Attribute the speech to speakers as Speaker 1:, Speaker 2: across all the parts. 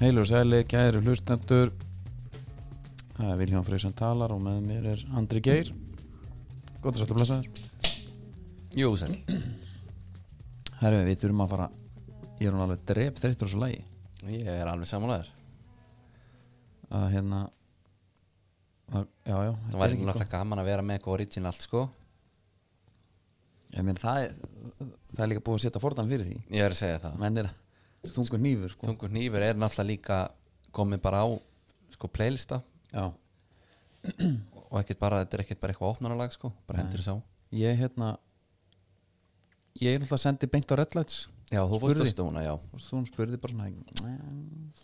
Speaker 1: Heilu og sæli, kæru hlustendur Það er Viljón Freysan talar og með mér er Andri Geir Gótt að sættu blessaður
Speaker 2: Jú, sæl
Speaker 1: Herru, við þurfum að fara Ég er hún alveg drep þreyttur á svo lægi
Speaker 2: Ég er alveg samanlegaður
Speaker 1: að hérna að, Já, já
Speaker 2: Það væri náttúrulega gaman að vera með eitthvað original sko
Speaker 1: Ég meina, það er Það er líka búið að setja forðan fyrir því
Speaker 2: Ég er að segja það
Speaker 1: Menn er þungur nýfur, sko
Speaker 2: Þungur nýfur er náttúrulega líka komið bara á sko playlista
Speaker 1: Já,
Speaker 2: og ekkert bara, þetta er ekkert bara eitthvað opnanalag sko bara hendur þess á
Speaker 1: ég hérna Ég er náttúrulega sendið beint á Red Lights
Speaker 2: Já, þú fórst á
Speaker 1: Spurði.
Speaker 2: stóna, já
Speaker 1: og svo hún spurði bara svona "Mmm, eitthvað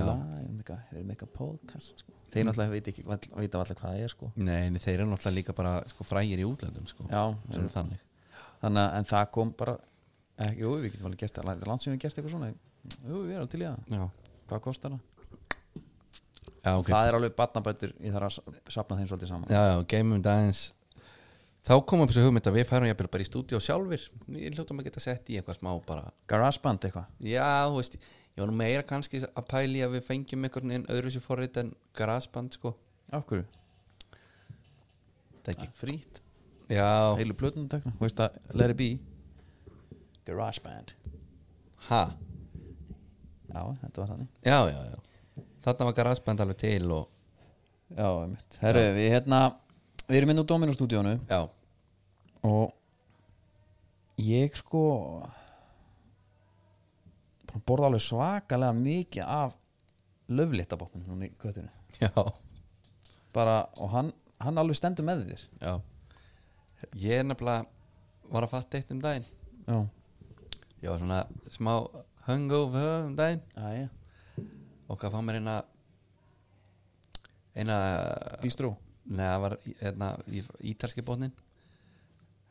Speaker 2: Já.
Speaker 1: lag, um eitthvað, erum eitthvað podcast sko. þeir náttúrulega veit ekki, vall- vita alltaf hvað það er sko.
Speaker 2: Nei, en þeir eru náttúrulega líka bara sko frægir í útlöndum sko
Speaker 1: já,
Speaker 2: Sem er þannig
Speaker 1: þannig að en það kom bara ekki, jú, við getum alveg gert það, það er landsvíðum gert eitthvað svona jú, við erum til í það,
Speaker 2: Já,
Speaker 1: hvað kostar það
Speaker 2: já ok
Speaker 1: það er alveg batnabættur, ég þarf að sa- safna þeim svolítið saman
Speaker 2: Já, já, geimum dagins Þá komum við svo hugmynd að við færum jafnvel bara í stúdíu sjálfir Við hljóttum að geta sett í eitthvað smá bara
Speaker 1: garageband eitthvað,
Speaker 2: Já, þú veist, ég var nú meira kannski að pæli að við fengjum einhvern veginn öðruvísi forrit en grassband, sko
Speaker 1: af hverju
Speaker 2: Það er ekki
Speaker 1: frýtt,
Speaker 2: Já,
Speaker 1: heilu plötunum tekna þú veist að, let it be garageband,
Speaker 2: ha,
Speaker 1: já, þetta var þannig
Speaker 2: já, já, já Þarna var grassband alveg til og
Speaker 1: já, einmitt, herru, við hérna við erum inn úr Dominó stúdíónu
Speaker 2: Já,
Speaker 1: og ég sko bara borða alveg svakalega mikið af löfléttabotnum núna í köttunni
Speaker 2: já,
Speaker 1: bara, og hann, hann alveg stendur með þér
Speaker 2: já Ég er nefnilega var að fatta eitt um daginn
Speaker 1: já,
Speaker 2: Ég var svona smá hungover um daginn
Speaker 1: aðja,
Speaker 2: og hvað fá mér eina eina
Speaker 1: bístrú
Speaker 2: Nei, það var hérna, í ítalski botnin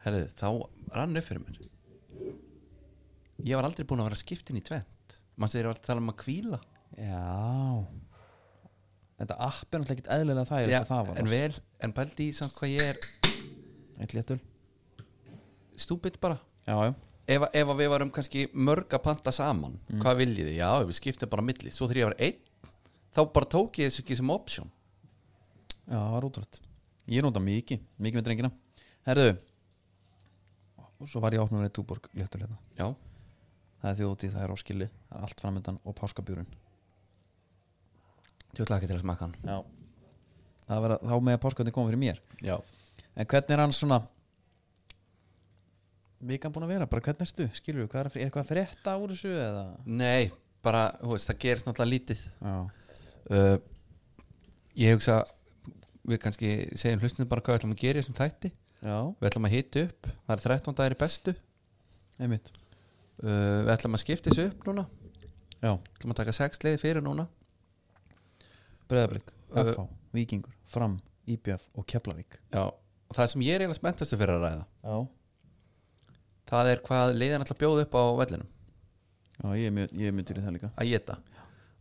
Speaker 2: Herðu, þá rann upp fyrir mér Ég var aldrei búin að vera skiptin í tvent Manstu þeir eru alltaf að tala um að kvíla
Speaker 1: já þetta app er náttúrulega ekkert eðlilega það er
Speaker 2: Já,
Speaker 1: hvað það var,
Speaker 2: En vel, en pældi í samt hvað ég er
Speaker 1: eitt léttul
Speaker 2: stúbit bara
Speaker 1: já, já,
Speaker 2: Ef, ef að við varum kannski mörg að panta saman Hvað viljið þið? Já, við skiptum bara á milli Svo þegar ég var einn Þá bara tók ég þessu ekki sem option
Speaker 1: já, það var útrútt ég nota mikið, mikið með drengina herðu og svo var ég átt með verið túborg léttul hérna
Speaker 2: Já,
Speaker 1: það er þjóðið, það er áskili, það er allt framöndan og páskabjúrun
Speaker 2: þú ætla ekki til að smaka hann
Speaker 1: Já Það vera, þá með að páskvöldin koma fyrir mér
Speaker 2: Já,
Speaker 1: en hvernig er hann svona vikan búin að vera, bara hvernig ertu skilur við, hvað er, að frétta- er eitthvað að frétta úr þessu eða
Speaker 2: nei, bara, þú veist, það gerist náttúrulega lítið
Speaker 1: já,
Speaker 2: uh, ég hugsa við kannski segjum hlustinu bara hvað við ætlum að gera í þessum þætti
Speaker 1: já,
Speaker 2: við ætlum að hita upp, það er 13 dagir í bestu uh,
Speaker 1: einmitt
Speaker 2: við ætlum að skipta þessu upp núna við
Speaker 1: já,
Speaker 2: ætlum að taka 6 leiði fyrir núna
Speaker 1: breðablík,
Speaker 2: Ö-
Speaker 1: FH, Víkingur Fram, IBF og Keflavík
Speaker 2: já, og það sem ég er eiginlega spenntastu fyrir að ræða
Speaker 1: já,
Speaker 2: það er hvað leiðin ætla að bjóða upp á vellinum
Speaker 1: já ég, er mjög, ég er mjög til í það líka
Speaker 2: að geta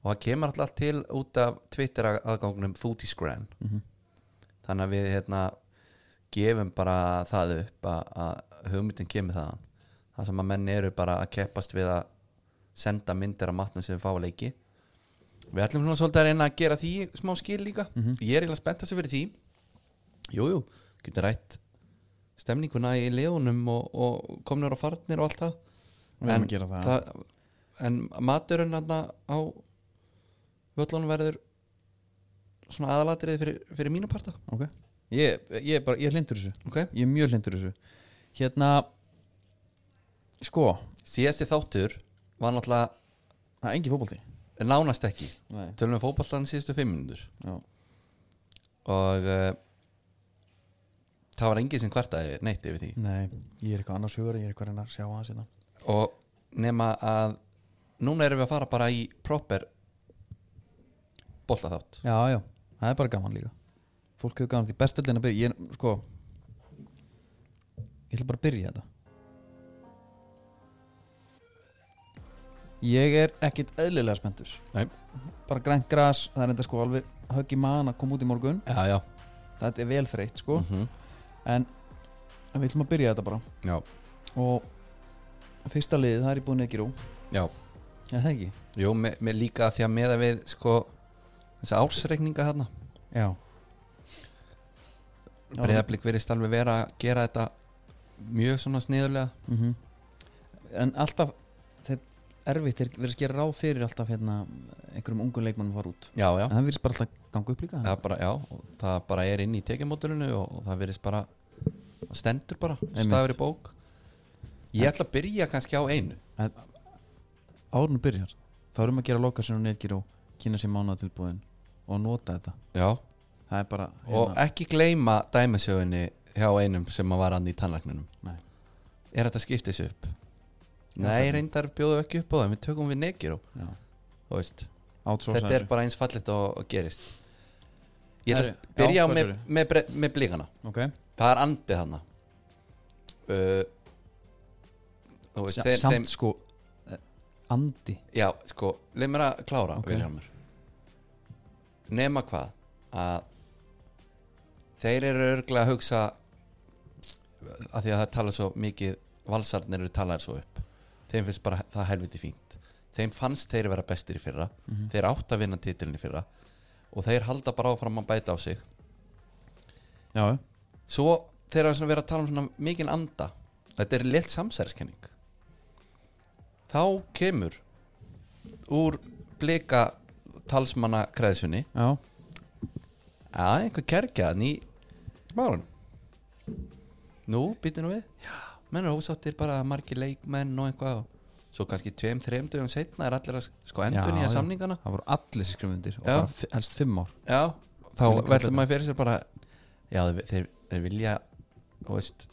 Speaker 2: og það kemur alltaf til út af Twitter aðgangunum Foodiescran
Speaker 1: mm
Speaker 2: þannig að við hérna gefum bara það upp að, að hugmyndin kemur þaðan það sem að menn eru bara að keppast við að senda myndir af matnum sem við fá að leiki við ætlum svona svolítið að reyna að gera því smá skil líka
Speaker 1: mhm.
Speaker 2: ég er eiginlega spennt að þessu fyrir því jújú, jú, getur rætt stemninguna í leðunum og, og komnur á farnir og allt það
Speaker 1: Við erum að gera það.
Speaker 2: en maturinn þarna á völlunum verður svona aðalatriði fyrir, fyrir mína parta
Speaker 1: ok, ég, ég er bara, ég er hlindur þessu
Speaker 2: okay.
Speaker 1: ég er mjög hlindur þessu hérna sko,
Speaker 2: síðasti þáttur var náttúrulega
Speaker 1: það er engi fótbolti
Speaker 2: nánast ekki
Speaker 1: nei,
Speaker 2: tölum við fótballtan síðustu fimm minnundur
Speaker 1: já,
Speaker 2: og uh, það var engin sem kvartaði neitt yfir því
Speaker 1: nei ég er eitthvað annars hugar, ég er eitthvað að reyna að sjá aðeins hérna
Speaker 2: og nema að núna erum við að fara bara í proper bollaþátt
Speaker 1: Já, já, það er bara gaman líka Fólk hefur gaman því bestildin að byrja Ég, sko Ég ætla bara að byrja þetta Ég er ekkit eðlilega spenntur
Speaker 2: Nei.
Speaker 1: Bara grænt gras, það er enda sko alveg högg í mann að koma út í morgun
Speaker 2: já, já,
Speaker 1: Þetta er vel þreytt sko
Speaker 2: mm -hmm.
Speaker 1: en, en við ætlum að byrja þetta bara
Speaker 2: já,
Speaker 1: Og fyrsta liðið, það er í búið Negirú
Speaker 2: já.
Speaker 1: Já, það ekki
Speaker 2: Jú, með, með líka því að meða við sko, þessi ársreikninga hérna
Speaker 1: Já
Speaker 2: breyðablík verðist alveg vera að gera þetta mjög svona sniðulega
Speaker 1: mm Mhm. En alltaf þeir erfitt þeir verið að skera ráð fyrir alltaf hérna einhverjum ungu leikmannum fara út
Speaker 2: Já, já,
Speaker 1: En það virðist bara alltaf ganga upp líka
Speaker 2: það, bara, já og það bara er inn í tekjumódulinu og, og það verðist bara það stendur bara,
Speaker 1: Einmitt.
Speaker 2: stafur í bók Ég ætla að byrja kannski á einu
Speaker 1: Árnu byrjar Þá erum að gera loka sem hún neðgir og kynna sér mánatilbúðin og nota þetta
Speaker 2: Já,
Speaker 1: Það er bara hérna,
Speaker 2: og ekki gleyma dæmisögunni hjá einum sem að var hann í tannlæknunum
Speaker 1: Nei.
Speaker 2: Er þetta skiptis upp?
Speaker 1: Já,
Speaker 2: Nei,
Speaker 1: það-
Speaker 2: reyndar bjóðu ekki upp á það, við tökum við negir og,
Speaker 1: Já.
Speaker 2: og veist,
Speaker 1: Outsourca
Speaker 2: e- þetta er
Speaker 1: þessu.
Speaker 2: bara eins fallit og, og gerist ég ætla
Speaker 1: Herri,
Speaker 2: að byrja
Speaker 1: já,
Speaker 2: á
Speaker 1: hvað
Speaker 2: með,
Speaker 1: segirðu?
Speaker 2: með, bre- með blíkana
Speaker 1: Ok
Speaker 2: það er andið hana uh, þú veist,
Speaker 1: Sa-
Speaker 2: þeim,
Speaker 1: Samt
Speaker 2: þeim,
Speaker 1: sko eh, Andi
Speaker 2: já, sko, leið mér að klára
Speaker 1: Ok.
Speaker 2: okay. Viljámur nema hvað að þeir eru örglega að hugsa að því að það tala svo mikið valsarnir eru talaðir svo upp þeim finnst bara það helviti fínt þeim fannst þeir vera bestir í fyrra þeir átt að vinna titilin í fyrra og þeir halda bara áfram að bæta á sig
Speaker 1: Já, já.
Speaker 2: svo þeir eru svona verið að tala um svona mikinn anda þetta er létt samsæriskenning þá kemur úr blika talsmanna kreðsunni
Speaker 1: já
Speaker 2: að einhver kerkjaðan í málun nú, býtum nú við já, menn eru ósáttir bara að margir leikmenn og eitthvað svo kannski tveim, þreim dögum setna er allir að sko endur
Speaker 1: Já,
Speaker 2: nýja
Speaker 1: já.
Speaker 2: samningana
Speaker 1: Það voru allir skrifundir og
Speaker 2: Já.
Speaker 1: bara fi- helst fimm ár
Speaker 2: Já, þá
Speaker 1: Þvílík
Speaker 2: veldur
Speaker 1: kallið.
Speaker 2: maður fyrir sér bara Já, þeir, þeir, þeir vilja þú veist,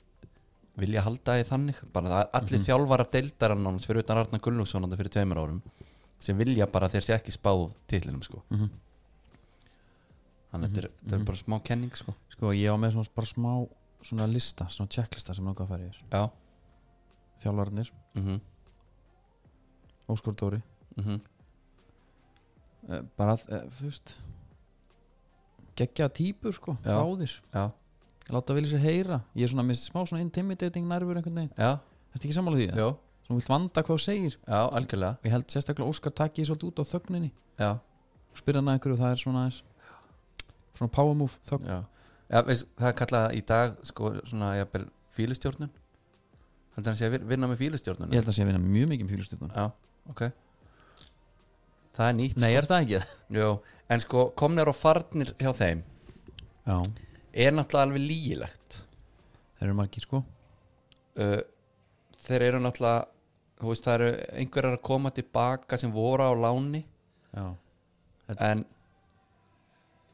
Speaker 2: vilja halda því þannig bara það er allir
Speaker 1: Mhm.
Speaker 2: mm -hmm. þjálfara deildarann hans fyrir utan Arna Gunnlúksson þarna fyrir tveimur árum sem vilja bara að þeir sé ekki spáð titlinum sko
Speaker 1: mm
Speaker 2: þannig að þetta
Speaker 1: Mhm,
Speaker 2: er- þetta er bara smá kenning sko
Speaker 1: Sko, ég á með svona bara smá svona lista, svona checklista sem langar að fara yfir
Speaker 2: Já,
Speaker 1: Þjálfarnir,
Speaker 2: mm -hmm.
Speaker 1: Óskar Dóri
Speaker 2: Mm
Speaker 1: eh, bara, eh, þú veist geggja típur sko,
Speaker 2: Já.
Speaker 1: báðir
Speaker 2: já,
Speaker 1: láta vilja sér heyra, ég er svona með smá svona intimidating nærfur einhvern veginn,
Speaker 2: já,
Speaker 1: þetta ekki sammála því
Speaker 2: já,
Speaker 1: svona vilt vanda hvað þú segir
Speaker 2: já, algjörlega
Speaker 1: og ég held sérstaklega Óskar takki ég svolítið út á þögninni
Speaker 2: Já,
Speaker 1: og spyr hann að einhverju, það er svona aðeins svona power move þögn
Speaker 2: já, já veist, það er kallað í dag sko svona jafnvel fílustjórnun þannig að hann sé að vinna með fílustjórnun
Speaker 1: ég held að sé að vinna mjög mikið um fílustjórnum
Speaker 2: Já, ok Það er nýtt sko.
Speaker 1: Nei, er það ekki?
Speaker 2: Jó, en sko komnir og farnir hjá þeim
Speaker 1: Já,
Speaker 2: er náttúrulega alveg lígilegt
Speaker 1: þeir eru margir sko
Speaker 2: uh, Þeir eru náttúrulega þú veist, það eru einhverjar að koma tilbaka sem voru á láni
Speaker 1: Já,
Speaker 2: en,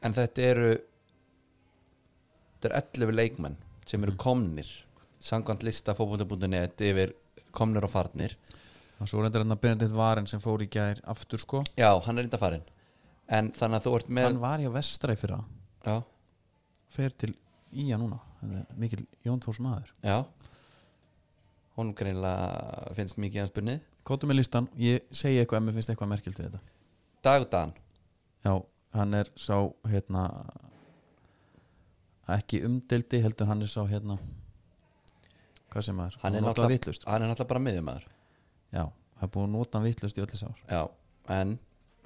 Speaker 2: en þetta eru þetta eru 11 leikmenn sem
Speaker 1: Mm.
Speaker 2: eru komnir samkvæmt lista fótbolta.net yfir komnir og farnir
Speaker 1: og svo reyndar hann að Benedikt Varen sem fór í gær aftur sko
Speaker 2: Já, hann er enda farinn en þannig að þú ert með
Speaker 1: hann var hjá Vestræ fyrir að
Speaker 2: Já,
Speaker 1: fer til Ía núna Þetta er mikill Jón Þórs maður
Speaker 2: já hún greinlega finnst mikið hans bunnið
Speaker 1: kóttu með listan, ég segi eitthvað ef mér finnst eitthvað merkilt við þetta
Speaker 2: Dagdan
Speaker 1: já, hann er sá hérna ekki umdeldi heldur hann er sá hérna hvað sem maður,
Speaker 2: hann er,
Speaker 1: notaði
Speaker 2: náttúrulega,
Speaker 1: vitlaust sko.
Speaker 2: hann er náttúrulega bara miðjumæður
Speaker 1: já, það er búin að nota hann vitlust í öllis ár
Speaker 2: já, en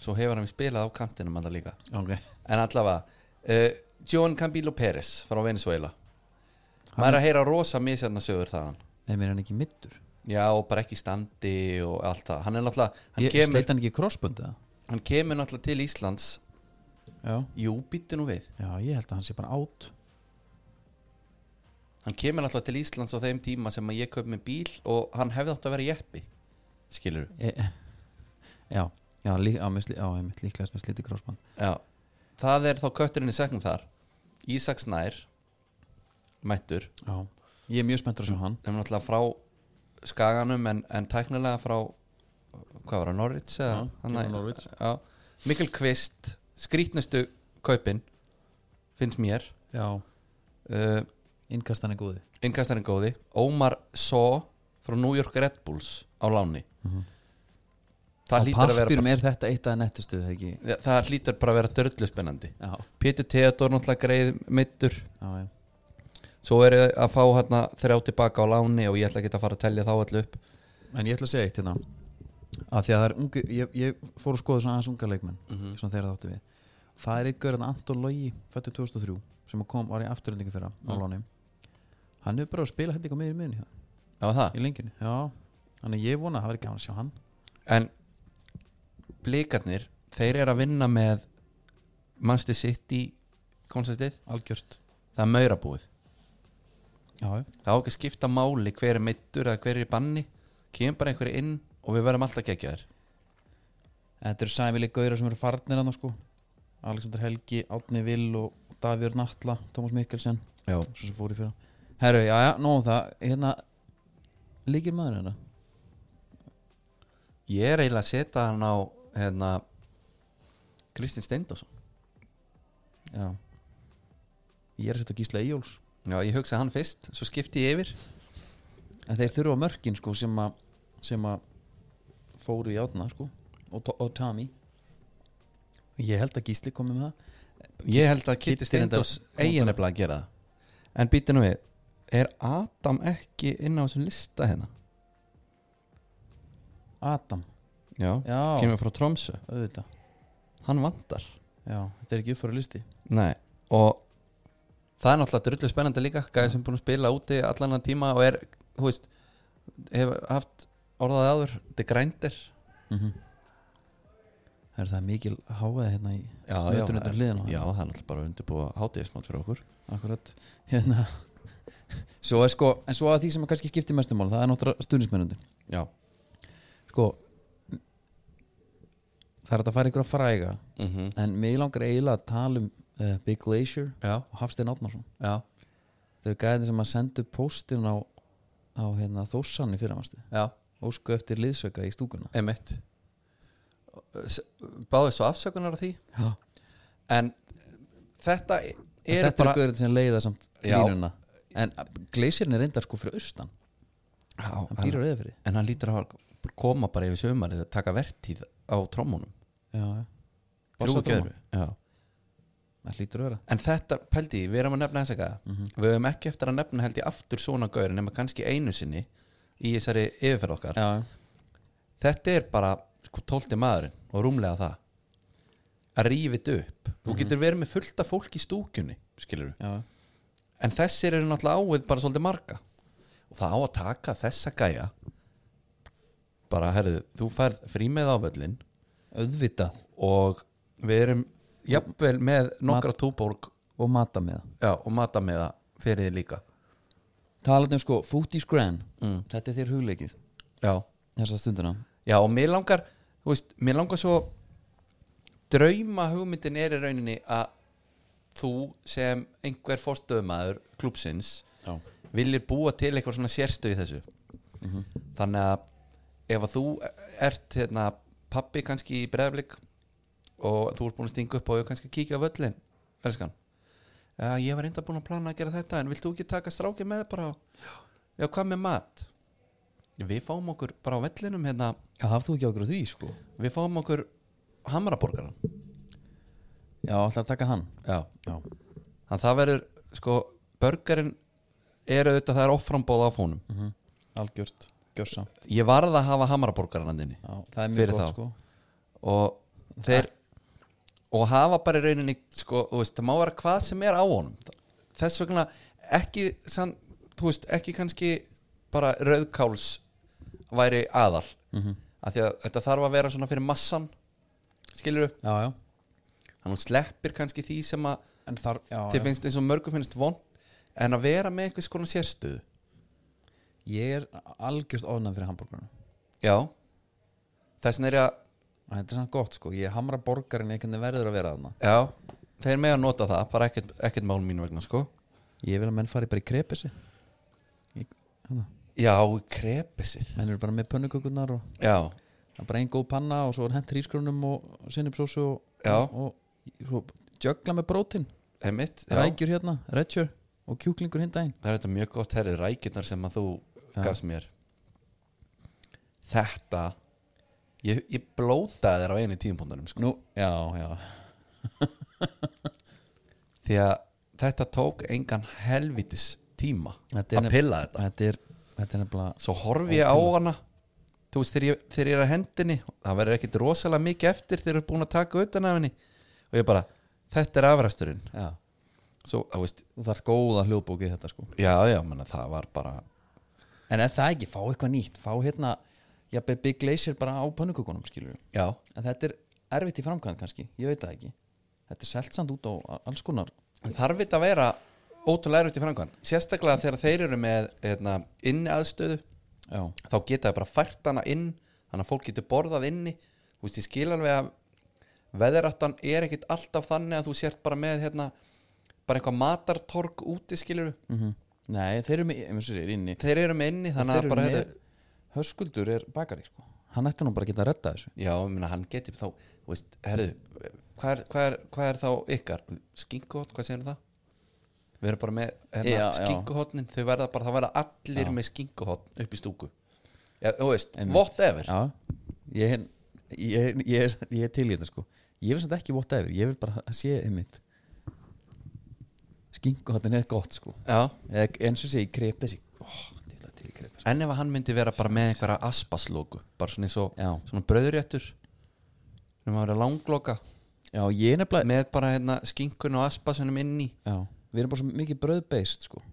Speaker 2: svo hefur hann spilað á kantinum alltaf líka
Speaker 1: ok,
Speaker 2: en allavega, uh, John Cambilo Pérez frá Venezuela maður er að heyra rosa misjarna sögur þaðan
Speaker 1: en mér er hann ekki middur
Speaker 2: já, og bara ekki í standi og allt það hann er náttúrulega, hann,
Speaker 1: ég
Speaker 2: kemur,
Speaker 1: sleit hann ekki í crossbund eða
Speaker 2: hann kemur náttúrulega til Íslands
Speaker 1: já.
Speaker 2: jú, býttu nú við
Speaker 1: já, ég held að hann sé bara átt
Speaker 2: hann kemur náttúrulega til Íslands á þeim tíma sem að ég köp með bíl og hann hefði átt að vera jeppi skilur
Speaker 1: e já, já, lí, á, misli, á, einmitt, líklegast með sliti crossbund
Speaker 2: Já, það er þá kötturinn í segnum þar Ísaks nær mættur,
Speaker 1: já, ég er mjög spenntur að sjá hann
Speaker 2: nefnum náttúrulega frá skaganum en, en tæknilega frá hvað var það, Norrits eða
Speaker 1: Já,
Speaker 2: hann
Speaker 1: kemur
Speaker 2: að-
Speaker 1: Norwich.
Speaker 2: Já, Mikkel Kvist skrítnustu kaupin finnst mér
Speaker 1: já,
Speaker 2: uh,
Speaker 1: innkastan er góði
Speaker 2: innkastarinn góði, Ómar Só frá New York Red Bulls á láni það, hlýtur
Speaker 1: á
Speaker 2: að vera
Speaker 1: pappirum
Speaker 2: bara,
Speaker 1: er þetta eitt að nettustu það ekki
Speaker 2: Ja, það hlýtur bara að vera dörlu spennandi
Speaker 1: já,
Speaker 2: Pétur Theodor náttúrulega greið meittur
Speaker 1: já, já.
Speaker 2: svo er ég að fá hérna þrjá tilbaka á láni og ég ætla ekki að fara að tellja þá allu upp
Speaker 1: en ég ætla að segja eitt hérna að því að það er ungu ég, ég fór að skoða svona aðeins unga leikmenn svona þegar það áttu við það er eitthvað en Anton Logi fættu 2003 sem kom var í afturöldingu fyrra á
Speaker 2: Mm.
Speaker 1: láni hann hefur bara að spila hætti eitthvað meður í miðunni
Speaker 2: Já, það
Speaker 1: í lengjunni já þannig að ég vona að það verði gaman að sjá hann
Speaker 2: En blikarnir, þeir eru að vinna með Manchester City konceptið,
Speaker 1: algjört
Speaker 2: það er maurabúið
Speaker 1: já já.
Speaker 2: það á ekki að skipta máli hver er meittur eða hver er í banni, kemur bara einhverju inn og við verðum alltaf gegja þér
Speaker 1: þetta eru sæmilig gauðra sem eru farnir hann sko Alexander Helgi Átni Vill og Davir Natla Tómas Mikkelsen
Speaker 2: Já,
Speaker 1: svo sem fór í fyrra herru já já nóg um það hérna líkir maður hérna
Speaker 2: ég er eiginlega að setja hann á hérna Kristinn Steindosson
Speaker 1: já ég er að setja Gísla Eyjóls
Speaker 2: Já, ég hugsaði hann fyrst, svo skipti ég yfir
Speaker 1: En þeir þurfa mörkin sko sem að sem að fóru í átna sko og, To- og Tami Ég held að Gísli komi með það
Speaker 2: Ég held að Kitty
Speaker 1: Kiddi
Speaker 2: Steindors
Speaker 1: reyndar-
Speaker 2: eiginlega að gera það En býti nú við, er Adam ekki inn á þessum lista hérna?
Speaker 1: Adam,
Speaker 2: Já,
Speaker 1: já,
Speaker 2: kemur frá Tromsö
Speaker 1: auðvitað
Speaker 2: Hann vantar
Speaker 1: Já, þetta er ekki uppfæra listi
Speaker 2: Nei, og það er náttúrulega drullu spennandi líka gæði sem er búin að spila úti allan að tíma og er, hú veist hef haft orðaði áður þetta er grændir
Speaker 1: mm
Speaker 2: Mhm.
Speaker 1: Það er það mikil háaði hérna í
Speaker 2: já, já,
Speaker 1: Mötun undir
Speaker 2: það-
Speaker 1: liðin á það.
Speaker 2: já, það er náttúrulega bara að undirbúa hátíðismátt fyrir okkur
Speaker 1: akkurat hérna Svo er sko, en svo að því sem að kannski skipti mestum mál það er náttúrulega stuðnismennundir
Speaker 2: Já,
Speaker 1: Sko Það er hægt að fara ykkur að fræga
Speaker 2: Mhm.
Speaker 1: en mig langar eiginlega að tala um uh, Big Glacier
Speaker 2: já,
Speaker 1: og Hafstein Átnarsson
Speaker 2: já,
Speaker 1: þeir eru gæðin sem að sendu póstinn á, á hérna, Þórsann í fyrramanstu
Speaker 2: já,
Speaker 1: ósku eftir liðsöka í stúkuna
Speaker 2: emitt Báðið svo afsökunar á því
Speaker 1: Já.
Speaker 2: en þetta er,
Speaker 1: er þetta bara...
Speaker 2: bara
Speaker 1: er gauðin sem leiða samt
Speaker 2: Já.
Speaker 1: línuna en gleisirinn er reyndar sko fyrir austan
Speaker 2: já,
Speaker 1: hann
Speaker 2: hann,
Speaker 1: býr á reyðafyrir
Speaker 2: en hann lítur að hafa- koma bara yfir sömarið að taka vertíð á trommunum Þrjú
Speaker 1: það
Speaker 2: gæru, já
Speaker 1: hlýtur að vera Mhm.
Speaker 2: En þetta, pældi, ég, við erum að nefna þess eitthvað Við höfum ekki eftir að nefna held ég aftur svona gaur nema kannski einu sinni í þessari yfirferð okkar
Speaker 1: já,
Speaker 2: Þetta er bara sko, tólti maðurinn og rúmlega það að rífið upp Þú getur verið með fullta fólk í stúkjunni skilur
Speaker 1: já,
Speaker 2: En þessir eru náttúrulega ávið bara svolítið marga og það á að taka þessa gæja bara, herðu, þú færð frí með ávöllin
Speaker 1: auðvitað
Speaker 2: og við erum jafnvel með nokkra túborg
Speaker 1: og mata með það
Speaker 2: já, og mata með það fyrir því líka
Speaker 1: talandi um sko Footies Grand
Speaker 2: mm.
Speaker 1: þetta er þér hugleikið
Speaker 2: já.
Speaker 1: þessa stundina
Speaker 2: já, og mér langar þú veist, mér langar svo drauma hugmyndin er í rauninni að þú sem einhver forstöðumaður klúpsins
Speaker 1: já,
Speaker 2: viljir búa til eitthvað svona sérstöð í þessu þannig að ef að þú ert hérna, pappi kannski í breðablik og þú ert búin að stinga upp og hefur kannski að kíkja á völlin elskan uh, ég var reynda búin að plana að gera þetta en vilt þú ekki taka stráki með bara já, hvað með mat við fáum okkur bara á vellinum hérna,
Speaker 1: það hafðu ekki okkur á því sko
Speaker 2: við fáum okkur hamraborgaran
Speaker 1: já, ætla að taka hann
Speaker 2: já,
Speaker 1: já,
Speaker 2: þannig að það verður sko, börgarinn er auðvitað það er offrambóð af honum
Speaker 1: mm algjört, gjörsa
Speaker 2: ég varð að hafa hamraborgaran andinni
Speaker 1: já, það er mjög
Speaker 2: Fyrir
Speaker 1: gott
Speaker 2: þá.
Speaker 1: sko
Speaker 2: og þeir og hafa bara í rauninni sko, þú veist, það má vera hvað sem er á honum þess vegna ekki san, þú veist, ekki kannski bara rauðkáls væri aðal
Speaker 1: mm
Speaker 2: af því að þetta þarf að vera svona fyrir massan skilur upp,
Speaker 1: já, já
Speaker 2: hann sleppir kannski því sem að
Speaker 1: En þar, já,
Speaker 2: þið
Speaker 1: já.
Speaker 2: finnst eins og mörgum finnst vond en að vera með einhvers konar sérstöðu
Speaker 1: ég er algjörst ofnað fyrir hambúrgarna
Speaker 2: já þess vegna er ég að,
Speaker 1: Þetta er samt gott sko, ég hamra borgarinn einhvern veginn verður að vera þarna
Speaker 2: já þeir með að nota það, bara ekkert, ekkert mál mínu vegna sko
Speaker 1: Ég vil að menn fari bara í krepesi Menn
Speaker 2: já, krepesið
Speaker 1: eru bara með pönnukökurnar og
Speaker 2: já,
Speaker 1: það er bara ein góð panna og svo er hent hrískrunum og sinnipsósu og,
Speaker 2: Já.
Speaker 1: og, og svo jögla með brótin
Speaker 2: Einmitt, já,
Speaker 1: Rækjur hérna, redsjör og kjúklingur hinn daginn
Speaker 2: það er þetta mjög gott herrið rækjurnar sem að þú
Speaker 1: Já.
Speaker 2: gafst mér Þetta ég, ég blótaði þér á einu tímpóndunum sko,
Speaker 1: Nú, já, já
Speaker 2: því að þetta tók engan helvitis tíma
Speaker 1: Þetta er
Speaker 2: að
Speaker 1: nef-
Speaker 2: pilla þetta
Speaker 1: Þetta er, þetta er nefnilega
Speaker 2: Svo horfi ég á hana þú veist, þegar ég, þegar ég er að hendinni það verður ekkit rosalega mikið eftir þegar þú er búin að taka utan af henni og ég bara, þetta er afræsturinn
Speaker 1: já,
Speaker 2: svo, þú veist,
Speaker 1: þú þarf góða hljóðbókið þetta sko
Speaker 2: já, já, manna, það var bara
Speaker 1: en er það ekki, fá eitthvað nýtt, fá hérna jafnvel Big Glacier bara á pannukökunum skilur
Speaker 2: já,
Speaker 1: en þetta er erfitt í framkvæmd kannski, ég veit það ekki þetta er selt samt út á a- alls konar
Speaker 2: en þarf þetta að vera ótrúlega erut í framkvæm sérstaklega þegar þeir eru með hérna, inni aðstöðu
Speaker 1: já,
Speaker 2: þá geta það bara fært hana inn þannig að fólk getur borðað inni þú veist, ég skil alveg að veðráttan er ekkit alltaf þannig að þú sért bara með hérna, bara eitthvað matartorg úti skilur
Speaker 1: mm nei, þeir eru með, eins og sér, inni
Speaker 2: þeir eru með inni þannig
Speaker 1: Þeir
Speaker 2: að
Speaker 1: eru
Speaker 2: bara hérna-
Speaker 1: með-
Speaker 2: hefðu,
Speaker 1: höskuldur er bakari sko hann ætti nú bara að geta að redda þessu
Speaker 2: já, ég meina, hann geti þá, þú veist, herðu hvað er, hvað er, hvað er þá ykkar skinkuhotn, hvað segir það? við erum bara með
Speaker 1: Já,
Speaker 2: hérna,
Speaker 1: já.
Speaker 2: skinkuhotnin þau verða bara, það verða allir með skinkuhotn upp í stúku já, þú veist,
Speaker 1: Einmitt.
Speaker 2: whatever
Speaker 1: já, ég, ég, ég, er, ég er til í þetta sko ég vil samt ekki vota yfir, ég vil bara að sé einmitt skinkuhottin er gott sko
Speaker 2: já.
Speaker 1: Eða, eins og sé ég krep þessi oh, til að til í krep þessi
Speaker 2: en ef hann myndi vera bara með einhverja aspaslóku bara svona eins og
Speaker 1: já,
Speaker 2: svona bröðuréttur sem að vera langloka
Speaker 1: já, ég er nefnilega
Speaker 2: með bara hérna skinkun og aspasunum inn í
Speaker 1: já, við erum bara svo mikið bröðbeist sko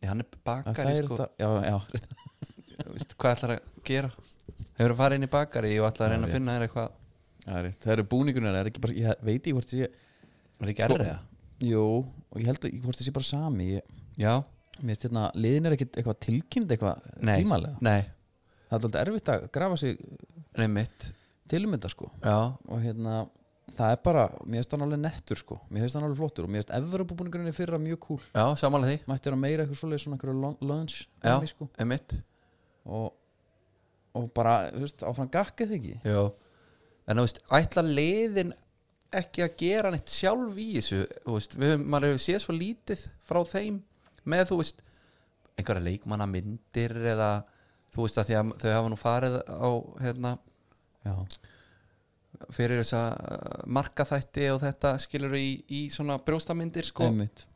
Speaker 2: ég, hann er
Speaker 1: Að
Speaker 2: bakari
Speaker 1: er
Speaker 2: sko
Speaker 1: þetta- já, já,
Speaker 2: Vist, hvað ætlar að gera hefur að fara inn í bakari og ætlar að reyna
Speaker 1: Já,
Speaker 2: að finna þér eitthvað
Speaker 1: það er rétt. það eru búningunar, það er ekki bara ég veit ég hvort þessi,
Speaker 2: er ekki errið það?
Speaker 1: jú og ég held að ég hvort þessi bara sami ég,
Speaker 2: Sko, já,
Speaker 1: mér veist hérna, liðin er ekkit eitthvað tilkynnt eitthvað
Speaker 2: Nei.
Speaker 1: tímalega
Speaker 2: nei,
Speaker 1: það er alltaf erfitt að grafa sig
Speaker 2: nei mitt
Speaker 1: til um þetta sko
Speaker 2: já,
Speaker 1: og hérna, það er bara, mér finnst hann alveg nettur sko, mér finnst hann alveg flottur og mér finnst Evrópubúningurinn í fyrra mjög cool
Speaker 2: já, samanlega því
Speaker 1: mætti hann meira eitthvað svoleið svona einhverju lun- lunch
Speaker 2: Já.
Speaker 1: dæmi, sko.
Speaker 2: einmitt,
Speaker 1: og, og bara, þú veist, áfram gakkið þig ekki
Speaker 2: já en þú veist, ætlar liðin ekki að gera neitt sjálf í þessu þú veist, við höfum, maður hefur séð svo lítið frá þeim með þú veist einhverja leikmanna myndir eða þú veist að því að þau hafa nú farið á hérna
Speaker 1: já,
Speaker 2: fyrir þess að marka þætti og þetta skilur í, í svona brjóstamyndir sko,
Speaker 1: einmitt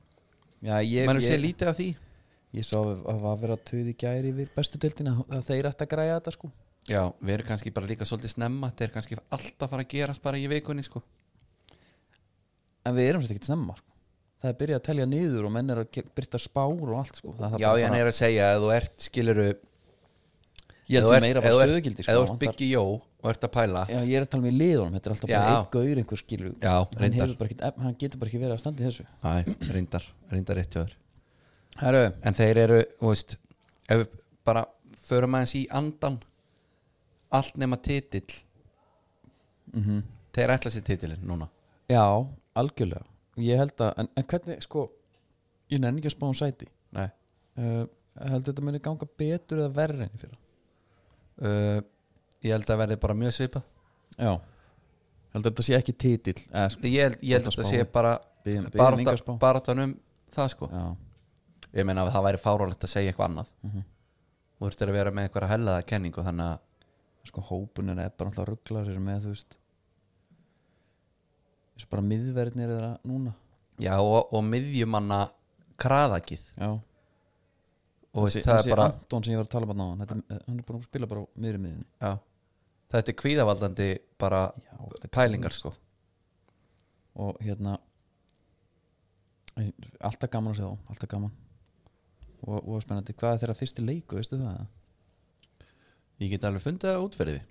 Speaker 1: já, ég, ég,
Speaker 2: maður hefur séð
Speaker 1: ég,
Speaker 2: lítið af því
Speaker 1: svo að það var að vera töði gæri við bestu deildina að þeir ætti að græja þetta sko
Speaker 2: já, við erum kannski bara líka svolítið snemma þetta er kannski alltaf að fara að gerast bara í vikunni sko.
Speaker 1: en við erum sér ekkert snemma sko. það er byrjað að telja niður og menn er að ke- birta spár og allt sko það, það
Speaker 2: já,
Speaker 1: bara
Speaker 2: ég
Speaker 1: bara,
Speaker 2: er að segja að þú ert skiluru
Speaker 1: ég held
Speaker 2: Ef þú
Speaker 1: sem
Speaker 2: ert-
Speaker 1: meira
Speaker 2: ef
Speaker 1: bara
Speaker 2: þú ert-
Speaker 1: stöðugildi
Speaker 2: eða
Speaker 1: sko,
Speaker 2: þú ert
Speaker 1: vantar-
Speaker 2: byggi jó og ert að pæla
Speaker 1: Já, ég er að tala með liðunum, þetta er alltaf bara
Speaker 2: Já.
Speaker 1: einn gaur einhver skilu
Speaker 2: Já,
Speaker 1: hann,
Speaker 2: reyndar.
Speaker 1: hefur bara ekkert efni- hann getur bara ekki verið að standa í þessu
Speaker 2: Æ, reyndar, reyndar rétt hjá þér
Speaker 1: Herru,
Speaker 2: en þeir eru, þú veist ef við bara förum aðeins í andan allt nema titill þeir ætla sér titillin núna
Speaker 1: Mhm. já, algjörlega Ég held að, en, en hvernig, sko ég nenni ekki að spá um sæti
Speaker 2: Nei.
Speaker 1: uh, held þetta muni ganga betur eða verri enn í fyrra
Speaker 2: uh, ég held að verði bara mjög svipað
Speaker 1: Já Held að þetta sé ekki titill eða, sko,
Speaker 2: ég held, ég held
Speaker 1: Gott
Speaker 2: að
Speaker 1: að
Speaker 2: þetta
Speaker 1: spá.
Speaker 2: sé bara
Speaker 1: byrjum, byrjum enga spá
Speaker 2: barátta- baráttan um það sko
Speaker 1: Já,
Speaker 2: ég meina að það væri fárálegt að segja eitthvað annað
Speaker 1: Mhm.
Speaker 2: þú ert að vera með einhverja hellaða kenningu þannig að
Speaker 1: sko hópunin er bara alltaf rugglar sér með, þú veist eins og bara miðverðnir eða núna
Speaker 2: já, og, og miðjumanna kraðakið
Speaker 1: Já
Speaker 2: og veist,
Speaker 1: Þessi-
Speaker 2: það
Speaker 1: þessi
Speaker 2: er bara
Speaker 1: Anton sem ég var að tala um náðan hann er búin að spila bara á miðri miðinni
Speaker 2: já, þetta er kvíðavaldandi bara
Speaker 1: Já, þetta er
Speaker 2: pælingar sko
Speaker 1: og hérna en alltaf gaman að segja þá alltaf gaman og, og spennandi, hvað er þeirra fyrsti leiku veistu það?
Speaker 2: ég get alveg fundið það út fyrir því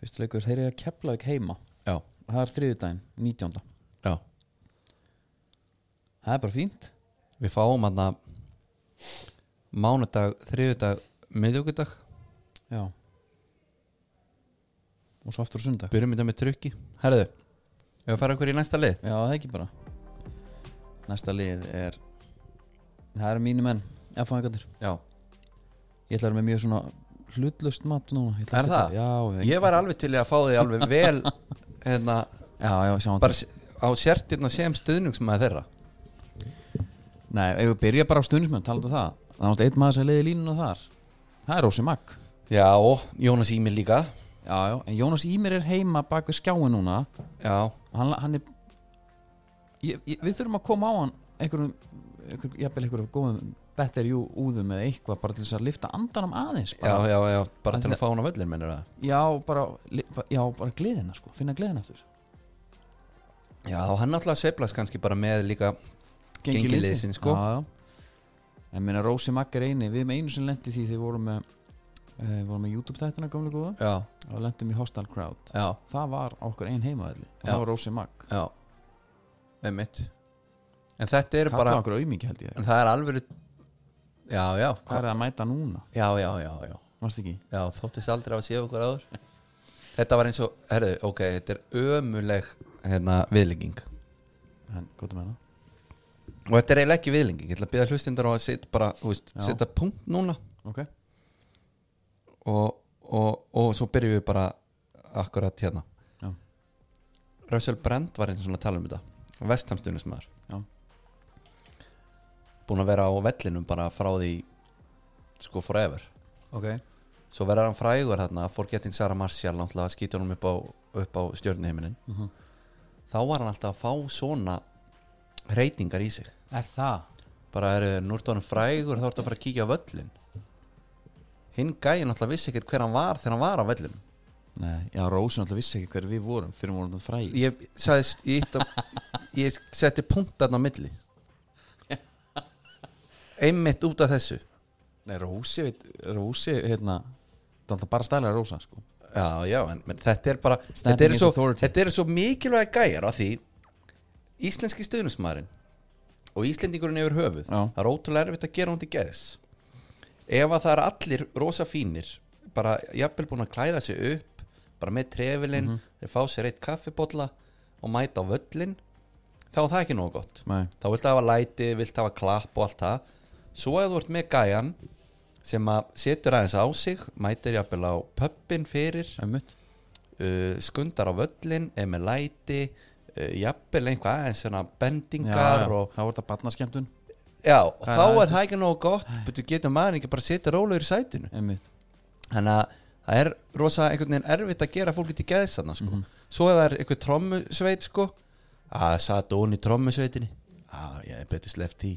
Speaker 1: fyrsti leiku er þeir eru að kepla ekki heima
Speaker 2: Já.
Speaker 1: það er þriðudaginn, 19.
Speaker 2: Já.
Speaker 1: það er bara fínt
Speaker 2: við fáum hann að mánudag, þriðudag, miðugudag
Speaker 1: já og svo aftur á sundag
Speaker 2: byrjum þetta með trukki herðu, ef við fara okkur í næsta lið
Speaker 1: já, það er ekki bara næsta lið er það eru mínu menn, F-fangarnir
Speaker 2: já,
Speaker 1: ég ætla að vera með mjög svona hlutlust mat núna Ég ætla
Speaker 2: Er
Speaker 1: ekki
Speaker 2: það?
Speaker 1: að- Já,
Speaker 2: ég var alveg til í að fá því alveg vel hérna,
Speaker 1: Já, já, sjáum
Speaker 2: bara s- á sértirna sem stuðnungsmaður þeirra
Speaker 1: Nei, ef við byrja bara á stundismenn, talaðu það Það er náttúrulega einn maður sem leiði línuna þar Það er Rósi Magg
Speaker 2: já, og Jónas Ími líka
Speaker 1: Já, já, en Jónas Ímir er heima bak við skjáin núna
Speaker 2: já,
Speaker 1: og hann, hann er ég, ég, Við þurfum að koma á hann einhverjum, einhverjum jafnvel einhverjum góðum þetta er jú úðum eða eitthvað bara til þess að lifta andanum aðeins
Speaker 2: já,
Speaker 1: bara,
Speaker 2: já, já, bara
Speaker 1: Að
Speaker 2: til
Speaker 1: það-
Speaker 2: að fá hún á völlin mennur það
Speaker 1: já, bara, li- já, bara gleðina sko, finna gleðina aftur
Speaker 2: já, og hann náttúrulega sveiflast kannski bara með líka Gengi liðsins, sko.
Speaker 1: já, já. en minna Rósi Magg er eini við erum einu sem lendi því þegar við vorum með eh, vorum með YouTube þættina gamlega góða
Speaker 2: já,
Speaker 1: og lendum í Hostile Crowd
Speaker 2: já,
Speaker 1: það var á okkur ein heimaðli
Speaker 2: Já.
Speaker 1: það var Rósi Magg
Speaker 2: já með mitt en þetta er
Speaker 1: það
Speaker 2: bara
Speaker 1: var okkur aumingi held ég
Speaker 2: en það er alveg já, já,
Speaker 1: hvað er það að mæta núna,
Speaker 2: já, já, já, já
Speaker 1: varst ekki
Speaker 2: já, þóttist aldrei að séu okkur áður þetta var eins og, herðu, ok þetta er ömuleg hérna, viðlenging
Speaker 1: en gott að menna
Speaker 2: og þetta er eiginlega ekki viðlenging ég ætla að byrja hlustindar á að setja bara þú veist,
Speaker 1: Já.
Speaker 2: setja punkt núna
Speaker 1: ok,
Speaker 2: og, og, og svo byrjum við bara akkurat hérna
Speaker 1: Já.
Speaker 2: Russell Brand var eins og svona að tala um þetta vestamstunismar
Speaker 1: Já.
Speaker 2: búin að vera á vellinum bara frá því sko forever
Speaker 1: ok
Speaker 2: svo verður hann frægur þarna forgetting Sarah Marshall náttúrulega skýtur hann upp á, upp á stjörnuhiminin
Speaker 1: uh
Speaker 2: þá var hann alltaf að fá svona reytingar í sig
Speaker 1: er það,
Speaker 2: bara eru, nú ertu hann frægur þá ertu að fara að kíkja á völlin hinn gæði náttúrulega vissi ekkert hver hann var þegar hann var á völlin
Speaker 1: nei, já Rósi náttúrulega vissi ekki hver við vorum fyrir við vorum það fræði
Speaker 2: ég, sagðist, ég, ítt á- ég setti punktarn á milli einmitt út af þessu
Speaker 1: nei, Rósi, veit, Rósi hérna, það er alltaf bara stælega Rósa sko
Speaker 2: já, já, en, en þetta er bara
Speaker 1: Standing
Speaker 2: þetta eru
Speaker 1: is
Speaker 2: svo,
Speaker 1: authority.
Speaker 2: þetta er svo mikilvæg gæjar af því íslenski stuðnismærin og íslendingurinn yfir höfuð
Speaker 1: Já.
Speaker 2: það er ótrúlega erfitt að gera hún til geðs ef að það er allir rosa fínir bara jafnvel búin að klæða sig upp bara með trefilinn, þeir fá sér eitt kaffibotla og mæta á völlin þá er það ekki nóg gott
Speaker 1: nei,
Speaker 2: þá viltu hafa læti, viltu hafa klapp og allt það svo að þú ert með gæjan sem að setur aðeins á sig mætir jafnvel á pöppin fyrir
Speaker 1: einmitt
Speaker 2: uh, skundar á völlin, er með læti uh, jafnvel einhvað aðeins svona bendingar
Speaker 1: já,
Speaker 2: og
Speaker 1: það voru þetta barnaskemmtun
Speaker 2: já, og
Speaker 1: Það er
Speaker 2: þá er
Speaker 1: aðeins-
Speaker 2: það ekki nógu gott betur getur maður ekki bara að setja rólegur í sætinu
Speaker 1: einmitt,
Speaker 2: þannig að það er rosa einhvern veginn erfitt að gera fólki til geðsanna sko.
Speaker 1: Mhm.
Speaker 2: svo ef það er einhver trommusveit sko, að satt hún í trommusveitinni að ég er betur sleft í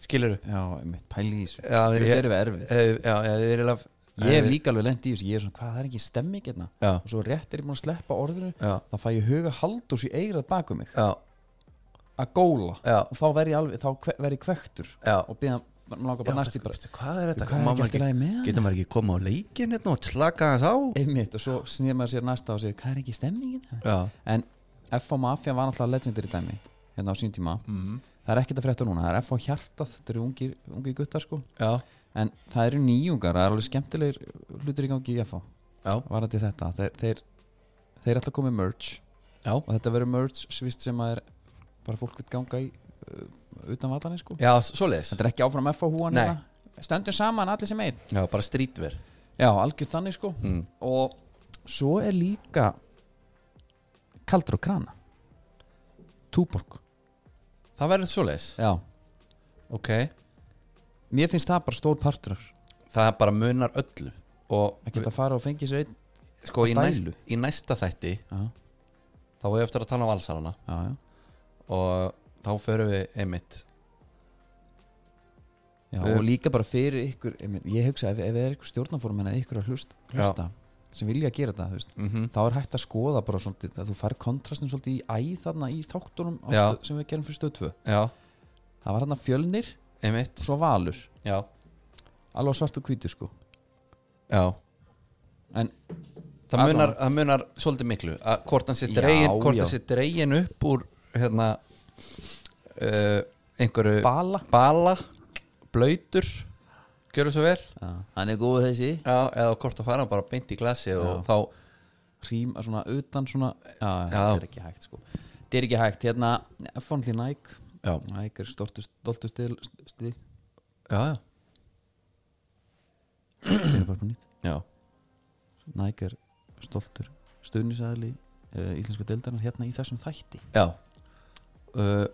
Speaker 2: skilur
Speaker 1: já, einmitt, pæli í þessu
Speaker 2: Já,
Speaker 1: Þetta
Speaker 2: ég-
Speaker 1: erum við erfið
Speaker 2: já, já, þið er eiginlega
Speaker 1: ég hef líka alveg lent í þessu, ég er svona, hvað það er ekki stemming hérna
Speaker 2: já,
Speaker 1: og svo rétt er ég búin að sleppa orðinu
Speaker 2: já,
Speaker 1: þá fæ ég huga haldús í eigrað baku mig
Speaker 2: já,
Speaker 1: að góla
Speaker 2: já,
Speaker 1: og þá verð ég alveg, þá kve- verð ég kvektur
Speaker 2: já.
Speaker 1: og býða, maður langar
Speaker 2: Já,
Speaker 1: bara næst í bara
Speaker 2: veistu, hvað er
Speaker 1: "Þú,
Speaker 2: þetta,
Speaker 1: hvað er
Speaker 2: Má
Speaker 1: ekki
Speaker 2: maður
Speaker 1: alltaf
Speaker 2: ekki,
Speaker 1: lægi með hann
Speaker 2: getur maður ekki koma á leikin hérna og slaka hans á
Speaker 1: einmitt og svo snýr maður sér næsta og segir hvað er ekki stemmingin
Speaker 2: já,
Speaker 1: en FH Mafia var náttúrulega legendary dæmi hérna á sín tíma
Speaker 2: mm.
Speaker 1: það er ekkert að frétta núna, það er FH Hjartað þetta eru ungir, ungir guttar sko
Speaker 2: já,
Speaker 1: en það eru nýjungar, það eru alveg skemmtilegir hlutir í gangi í FH
Speaker 2: já,
Speaker 1: varandi þetta, þeir, þeir, þeir er alltaf komið merch
Speaker 2: já
Speaker 1: og þetta verður merch svist sem að er bara fólk vil ganga í uh, utan vallanir sko
Speaker 2: já, svoleiðis,
Speaker 1: þetta er ekki áfram FH húan hérna.
Speaker 2: Nei.
Speaker 1: stöndum saman allir sem einn
Speaker 2: já, bara strítver
Speaker 1: já, algjörð þannig sko
Speaker 2: mm.
Speaker 1: og svo er líka kaldur og krana túborg
Speaker 2: það verður svoleiðis,
Speaker 1: já,
Speaker 2: ok
Speaker 1: mér finnst það bara stór partur af-
Speaker 2: það bara munar öllu og
Speaker 1: að geta að fara og fengi sér einn
Speaker 2: sko í,
Speaker 1: á
Speaker 2: næst,
Speaker 1: dælu.
Speaker 2: í næsta þætti
Speaker 1: já,
Speaker 2: þá er eftir að tala um valsarana
Speaker 1: já, já,
Speaker 2: og þá förum við einmitt
Speaker 1: já
Speaker 2: Um,
Speaker 1: og líka bara fyrir ykkur ég meina, ég hugsa ef, ef það er ykkur stjórnaformenn eða ykkur að hlust, hlusta sem vilja gera þetta, þú veist
Speaker 2: mm -hmm.
Speaker 1: þá er hægt að skoða bara svolítið að þú fær kontrastin svolítið í æ þarna í þáttunum á
Speaker 2: Já.
Speaker 1: stöð- sem við gerum fyrir stöð 2
Speaker 2: já,
Speaker 1: það var hann að fjölnir,
Speaker 2: einmitt
Speaker 1: svo valur
Speaker 2: já,
Speaker 1: alveg á svartu hvítu sko
Speaker 2: já
Speaker 1: En-
Speaker 2: það
Speaker 1: Allan.
Speaker 2: munar, það munar svolítið miklu að hvort hann sé
Speaker 1: Já,
Speaker 2: dregin, hvort
Speaker 1: já.
Speaker 2: hann sé dregin upp úr hérna uh, einhverju
Speaker 1: bala,
Speaker 2: bala blöytur, gjörðu svo vel
Speaker 1: hann er góður þessi
Speaker 2: já, eða hvort að fara bara beint í glasi og þá,
Speaker 1: hrím að svona utan svona já,
Speaker 2: Já.
Speaker 1: þetta er ekki hægt sko þetta er ekki hægt, hérna F1 Nike,
Speaker 2: já,
Speaker 1: Nike er stortu stoltu stil, stil
Speaker 2: já, já,
Speaker 1: byrja bara upp á nýtt.
Speaker 2: já.
Speaker 1: Nike er stoltur stuðnisæðli uh, íslensku deildarnar hérna í þessum þætti
Speaker 2: Já uh,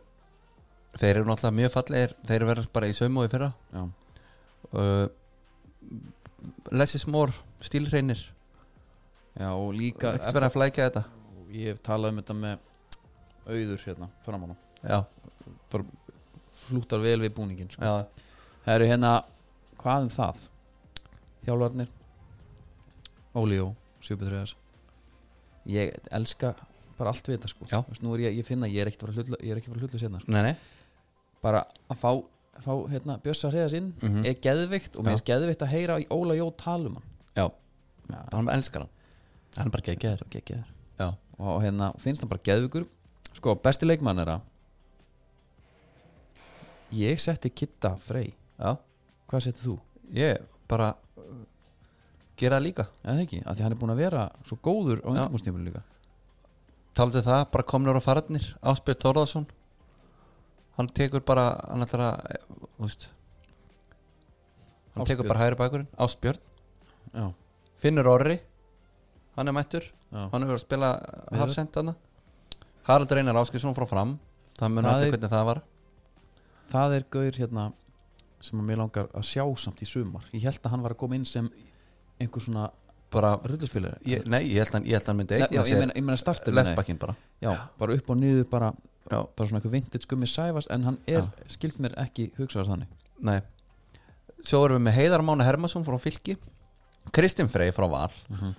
Speaker 2: Þeir eru náttúrulega mjög fallegir Þeir eru verið bara í sömu og í fyrra
Speaker 1: já,
Speaker 2: uh, Lessi smór Stílhreinir
Speaker 1: já og líka
Speaker 2: Ekkert verið að flækja þetta
Speaker 1: ég hef talað um þetta með auður hérna, framann
Speaker 2: Já,
Speaker 1: flúttar vel við búningin sko.
Speaker 2: já,
Speaker 1: Það eru hérna, hvað um það? Þjálfarnir Óli og Sjöbjörðræðars Ég elska bara allt við þetta sko
Speaker 2: Já.
Speaker 1: Þú veist, Nú er ég, ég finna, ég er ekkert að fara að hlutla- ég er ekki að fara hlutlu sérna sko.
Speaker 2: Nei, nei,
Speaker 1: Bara að fá, fá hérna, Bjössa Hreðars inn
Speaker 2: Mhm.
Speaker 1: er geðvikt og mér
Speaker 2: Já.
Speaker 1: er geðvikt að heyra í Óla Jó talum hann
Speaker 2: já,
Speaker 1: Já,
Speaker 2: hann elskar hann Hann er bara geggjaður
Speaker 1: geggjaður
Speaker 2: Já,
Speaker 1: og hérna finnst hann bara geðvikur sko, besti leikmann er að ég setti Kitta Frey
Speaker 2: já,
Speaker 1: hvað setti þú?
Speaker 2: ég bara uh, gera það líka
Speaker 1: eða ekki, af því hann er búin að vera svo góður á
Speaker 2: Já.
Speaker 1: undirbúrstímul líka
Speaker 2: Taldu það, bara komnur á fararnir Áspjörn Þórðarsson Hann tekur bara, hann ætlar að eh, Þú veist Hann tekur
Speaker 1: Ásbjörn.
Speaker 2: bara hægri bakurinn, Áspjörn
Speaker 1: já,
Speaker 2: Finnur Orri, hann er mættur
Speaker 1: já.
Speaker 2: Hann hefur verið að spila
Speaker 1: Miður.
Speaker 2: hafsendana Haraldur Einar Áskilsson frá fram Það mun
Speaker 1: Það
Speaker 2: allir
Speaker 1: er-
Speaker 2: hvernig það var
Speaker 1: það er gaur hérna sem að mér langar að sjá samt í sumar ég held að hann var að koma inn sem einhver svona
Speaker 2: bara,
Speaker 1: rullusfélur
Speaker 2: ég, Nei, ég held hann, ég held hann myndi
Speaker 1: já,
Speaker 2: eigna
Speaker 1: ég
Speaker 2: sér
Speaker 1: meina, ég meina startur
Speaker 2: Leftbakkinn bara
Speaker 1: já, bara upp og niður bara,
Speaker 2: Já.
Speaker 1: bara svona einhver vintage gummi sæfas en hann er,
Speaker 2: Já.
Speaker 1: skilt mér ekki hugsaðar þannig
Speaker 2: Nei Svo erum við með Heiðar Mána Hermansson frá Fylki Kristinn Frey frá Val
Speaker 1: Mhm.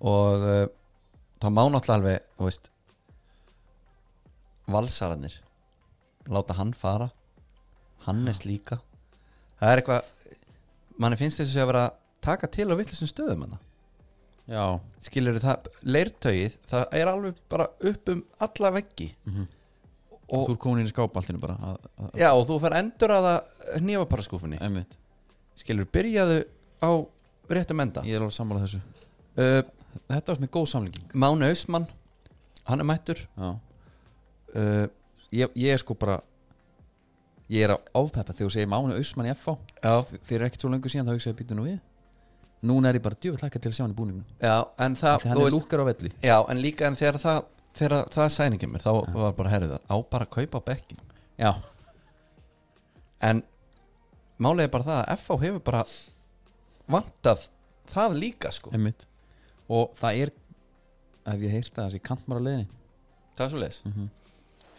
Speaker 2: og uh, það má náttúrulega alveg þú veist, valsararnir láta hann fara Hannes líka það er eitthvað manni finnst þessu að vera að taka til á vitlisum stöðum hana
Speaker 1: já,
Speaker 2: skilur það, leirtögið það er alveg bara upp um alla veggi
Speaker 1: Mhm.
Speaker 2: og,
Speaker 1: þú er komin inn í skápaltinu bara að, að,
Speaker 2: já, og þú fer endur að það nefaparaskúfunni
Speaker 1: Einmitt,
Speaker 2: skilur, byrjaðu á réttum enda
Speaker 1: ég er alveg sammála þessu
Speaker 2: uh,
Speaker 1: Þetta var sem er góð samlíking
Speaker 2: Máni Ausmann hann er mættur
Speaker 1: Já.
Speaker 2: uh,
Speaker 1: ég, ég er sko bara Ég er á ápeppa þegar þú segir Máni Ausmann í FH
Speaker 2: já,
Speaker 1: Fyrir ekkert svo löngu síðan þá hugsaði býtu nú við Núna er ég bara djöfull hlakka til að sjá hann í búningum
Speaker 2: já, en það
Speaker 1: Þegar hann
Speaker 2: þú
Speaker 1: er lúkar á velli
Speaker 2: já, en líka en þegar það þegar það sæning kemur, þá var bara herrið það á bara að kaupa bekkin
Speaker 1: Já,
Speaker 2: en málið er bara það að FH hefur bara vantað það líka sko
Speaker 1: einmitt Og það er Ef ég heyrta þessi kantmar á leiðinni
Speaker 2: það er svo leis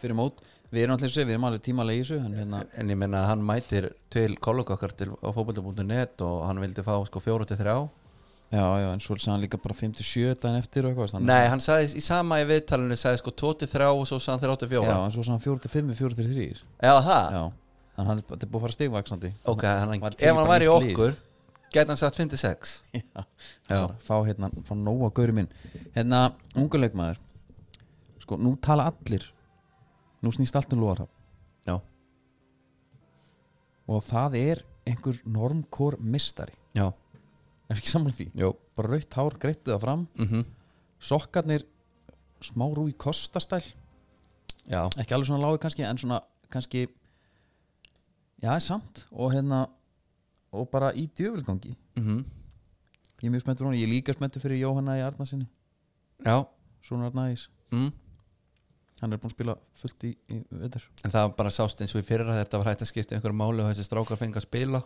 Speaker 1: Fyrir mót, við erum allir sér, við erum alveg tímalegi í þessu En hérna,
Speaker 2: en ég menna hann mætir til kollega okkar til á fótbolta.net og hann vildi fá sko 4-3
Speaker 1: já, já, en svo sagði hann líka bara 57 daginn eftir og eitthvað þannig að-
Speaker 2: Nei, hann sagði í sama í viðtalinu sagði sko 23 og svo sagði hann 34
Speaker 1: Já, en svo sagði hann 45, 43
Speaker 2: Já, það?
Speaker 1: Já, þannig að hann er þetta er búið að fara stigvaksandi
Speaker 2: Ok, hann,
Speaker 1: Var til
Speaker 2: ef hann
Speaker 1: bara
Speaker 2: væri í
Speaker 1: nýtt lið.
Speaker 2: okkur gæti hann sagt 56
Speaker 1: Já,
Speaker 2: Já.
Speaker 1: Bara fá hérna, fá nóg að gauri minn hérna, ungu leikmaður sko, nú tala allir nú snýst allt um lóðarhaf
Speaker 2: Já,
Speaker 1: og það er einhver normkór mistari,
Speaker 2: já,
Speaker 1: er ekki samlega því
Speaker 2: jú
Speaker 1: bara rautt hár greittu það fram,
Speaker 2: mm
Speaker 1: sokkarnir smá rúi kostastæl
Speaker 2: Já,
Speaker 1: ekki alveg svona lágur kannski, en svona kannski já, er samt og hérna, og bara í djöfulgangi,
Speaker 2: mm
Speaker 1: ég er mjög spenntur hún ég er líka spenntur fyrir Jóhanna í Arnarsinni
Speaker 2: já
Speaker 1: svona Arnægis,
Speaker 2: mm.
Speaker 1: hann er búinn að spila fullt í, í vettur
Speaker 2: En það var bara sást eins og í fyrra þetta var hægt að skipta einhverju máli og þessi strákar fengi að spila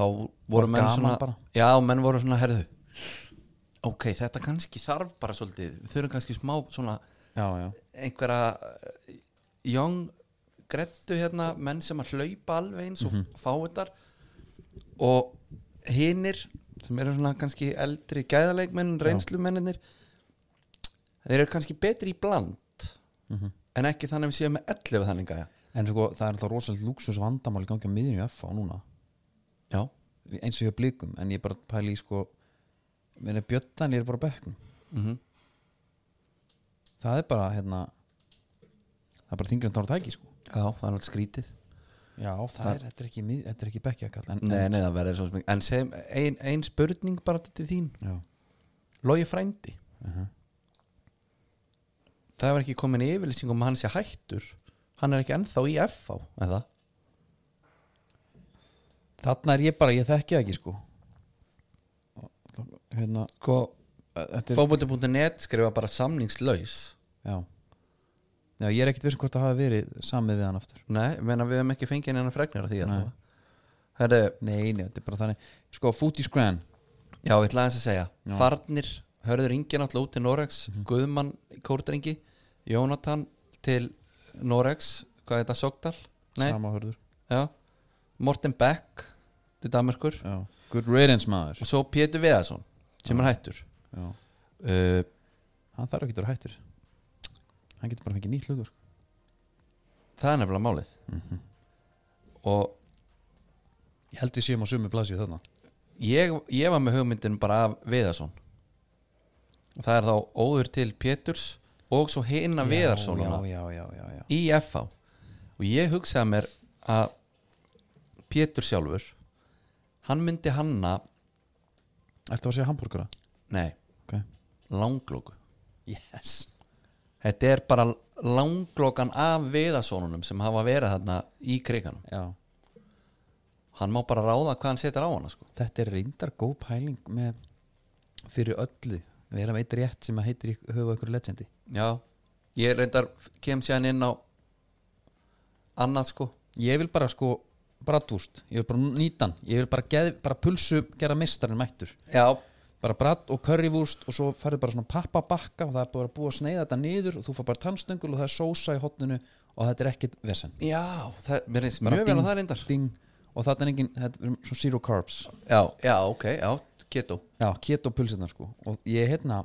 Speaker 2: Þá voru
Speaker 1: Bara
Speaker 2: menn
Speaker 1: gaman
Speaker 2: svona
Speaker 1: bara.
Speaker 2: Já, menn voru svona herðu Ok, þetta kannski þarf bara svolítið Við þurfum kannski smá svona
Speaker 1: já, já,
Speaker 2: einhverja eh, young grettu hérna menn sem að hlaupa alveg eins og mm fáiðar og hinnir sem eru svona kannski eldri gæðaleikmenn, reynslumenninir þeir eru kannski betri í bland
Speaker 1: Mhm.
Speaker 2: en ekki þannig að við séum með 11 þannig gæja
Speaker 1: En sko, það er alltaf rosalega lúksus vandamál í gangi á miðinu í FH núna
Speaker 2: Já,
Speaker 1: eins og ég blikum, en ég bara pæli í sko minni bjöttan er bara á bekknum
Speaker 2: mm
Speaker 1: það er bara, hérna það er bara þingur en tára tæki, sko
Speaker 2: Já það er alveg skrítið
Speaker 1: Já, það, er, þetta er ekki, mið- þetta er ekki bekkjakall en,
Speaker 2: Nei, nei, það verður svo sem En sem, ein, ein spurning bara til þín
Speaker 1: en, já,
Speaker 2: Logi frændi
Speaker 1: Mhm.
Speaker 2: Það var ekki komin yfirlýsing um að hann sé hættur Hann er ekki ennþá í FH eða?
Speaker 1: Þarna er ég bara, ég þekki það ekki, sko hérna,
Speaker 2: Sko,
Speaker 1: þetta er
Speaker 2: fótbolti.net skrifa bara samningslaus
Speaker 1: já. já, ég er ekkit viss um hvort það hafi verið samið við hann aftur
Speaker 2: Nei, ég meina við hefum ekki fengið hennar fregnir af því
Speaker 1: Nei.
Speaker 2: allavega. Herri,
Speaker 1: Nei, nei, þetta er bara þannig Sko, Footy Scran
Speaker 2: já, ég ætla aðeins að segja
Speaker 1: Já. Mhm.
Speaker 2: Farnir, Hörður Ingi náttúrulega út til Norex Guðmann Kórdrengi Jónatan til Norex Hvað er þetta, Sogdal? Nei,
Speaker 1: Samahörður
Speaker 2: já Morten Beck til Danmarkur
Speaker 1: já. Good riddance maður
Speaker 2: og svo Pétur Viðarsson sem er hættur
Speaker 1: já.
Speaker 2: uh,
Speaker 1: Hann þarf ekki að vera hættur Hann getur bara fengið nýtt hlugur
Speaker 2: það er nefnilega málið
Speaker 1: Mhm.
Speaker 2: og
Speaker 1: Ég held við séum á sumu blasið þarna
Speaker 2: ég, ég var með hugmyndin bara af Viðarsson og það er þá óður til Péturs og svo hinna Viðarsson
Speaker 1: já, já, já, já, já.
Speaker 2: í FH og ég hugsaði mér að Pétur sjálfur hann myndi hanna
Speaker 1: Ertu að segja hambúrgara?
Speaker 2: nei,
Speaker 1: Ok
Speaker 2: langlóku
Speaker 1: Yes
Speaker 2: þetta er bara langlókan af viðasónunum sem hafa verið þarna í kriganum
Speaker 1: Já
Speaker 2: hann má bara ráða hvað hann setur á hana sko.
Speaker 1: Þetta er reyndar góð pæling með fyrir öllu Við erum eitt rétt sem að heitir í höfu ykkur legendi
Speaker 2: já, ég reyndar kem sér inn á annað sko
Speaker 1: Ég vil bara sko bratvúst Ég vil bara nýta hann Ég vil bara, geð, bara pulsu gera mistarinn mættur
Speaker 2: já,
Speaker 1: bara bratt og currywurst og svo færðu bara svona pappabakka og það er bara búið að sneiða þetta niður og þú fær bara tannstöngul og það er sósa í hotninu og þetta er ekkit vesen
Speaker 2: já það, mér reynst
Speaker 1: Bara
Speaker 2: mjög vel
Speaker 1: ding,
Speaker 2: að það reyndar
Speaker 1: ding, og þetta er engin, þetta er svona zero carbs
Speaker 2: já, já, ok, já, keto
Speaker 1: já, keto pulsirna sko og ég er hérna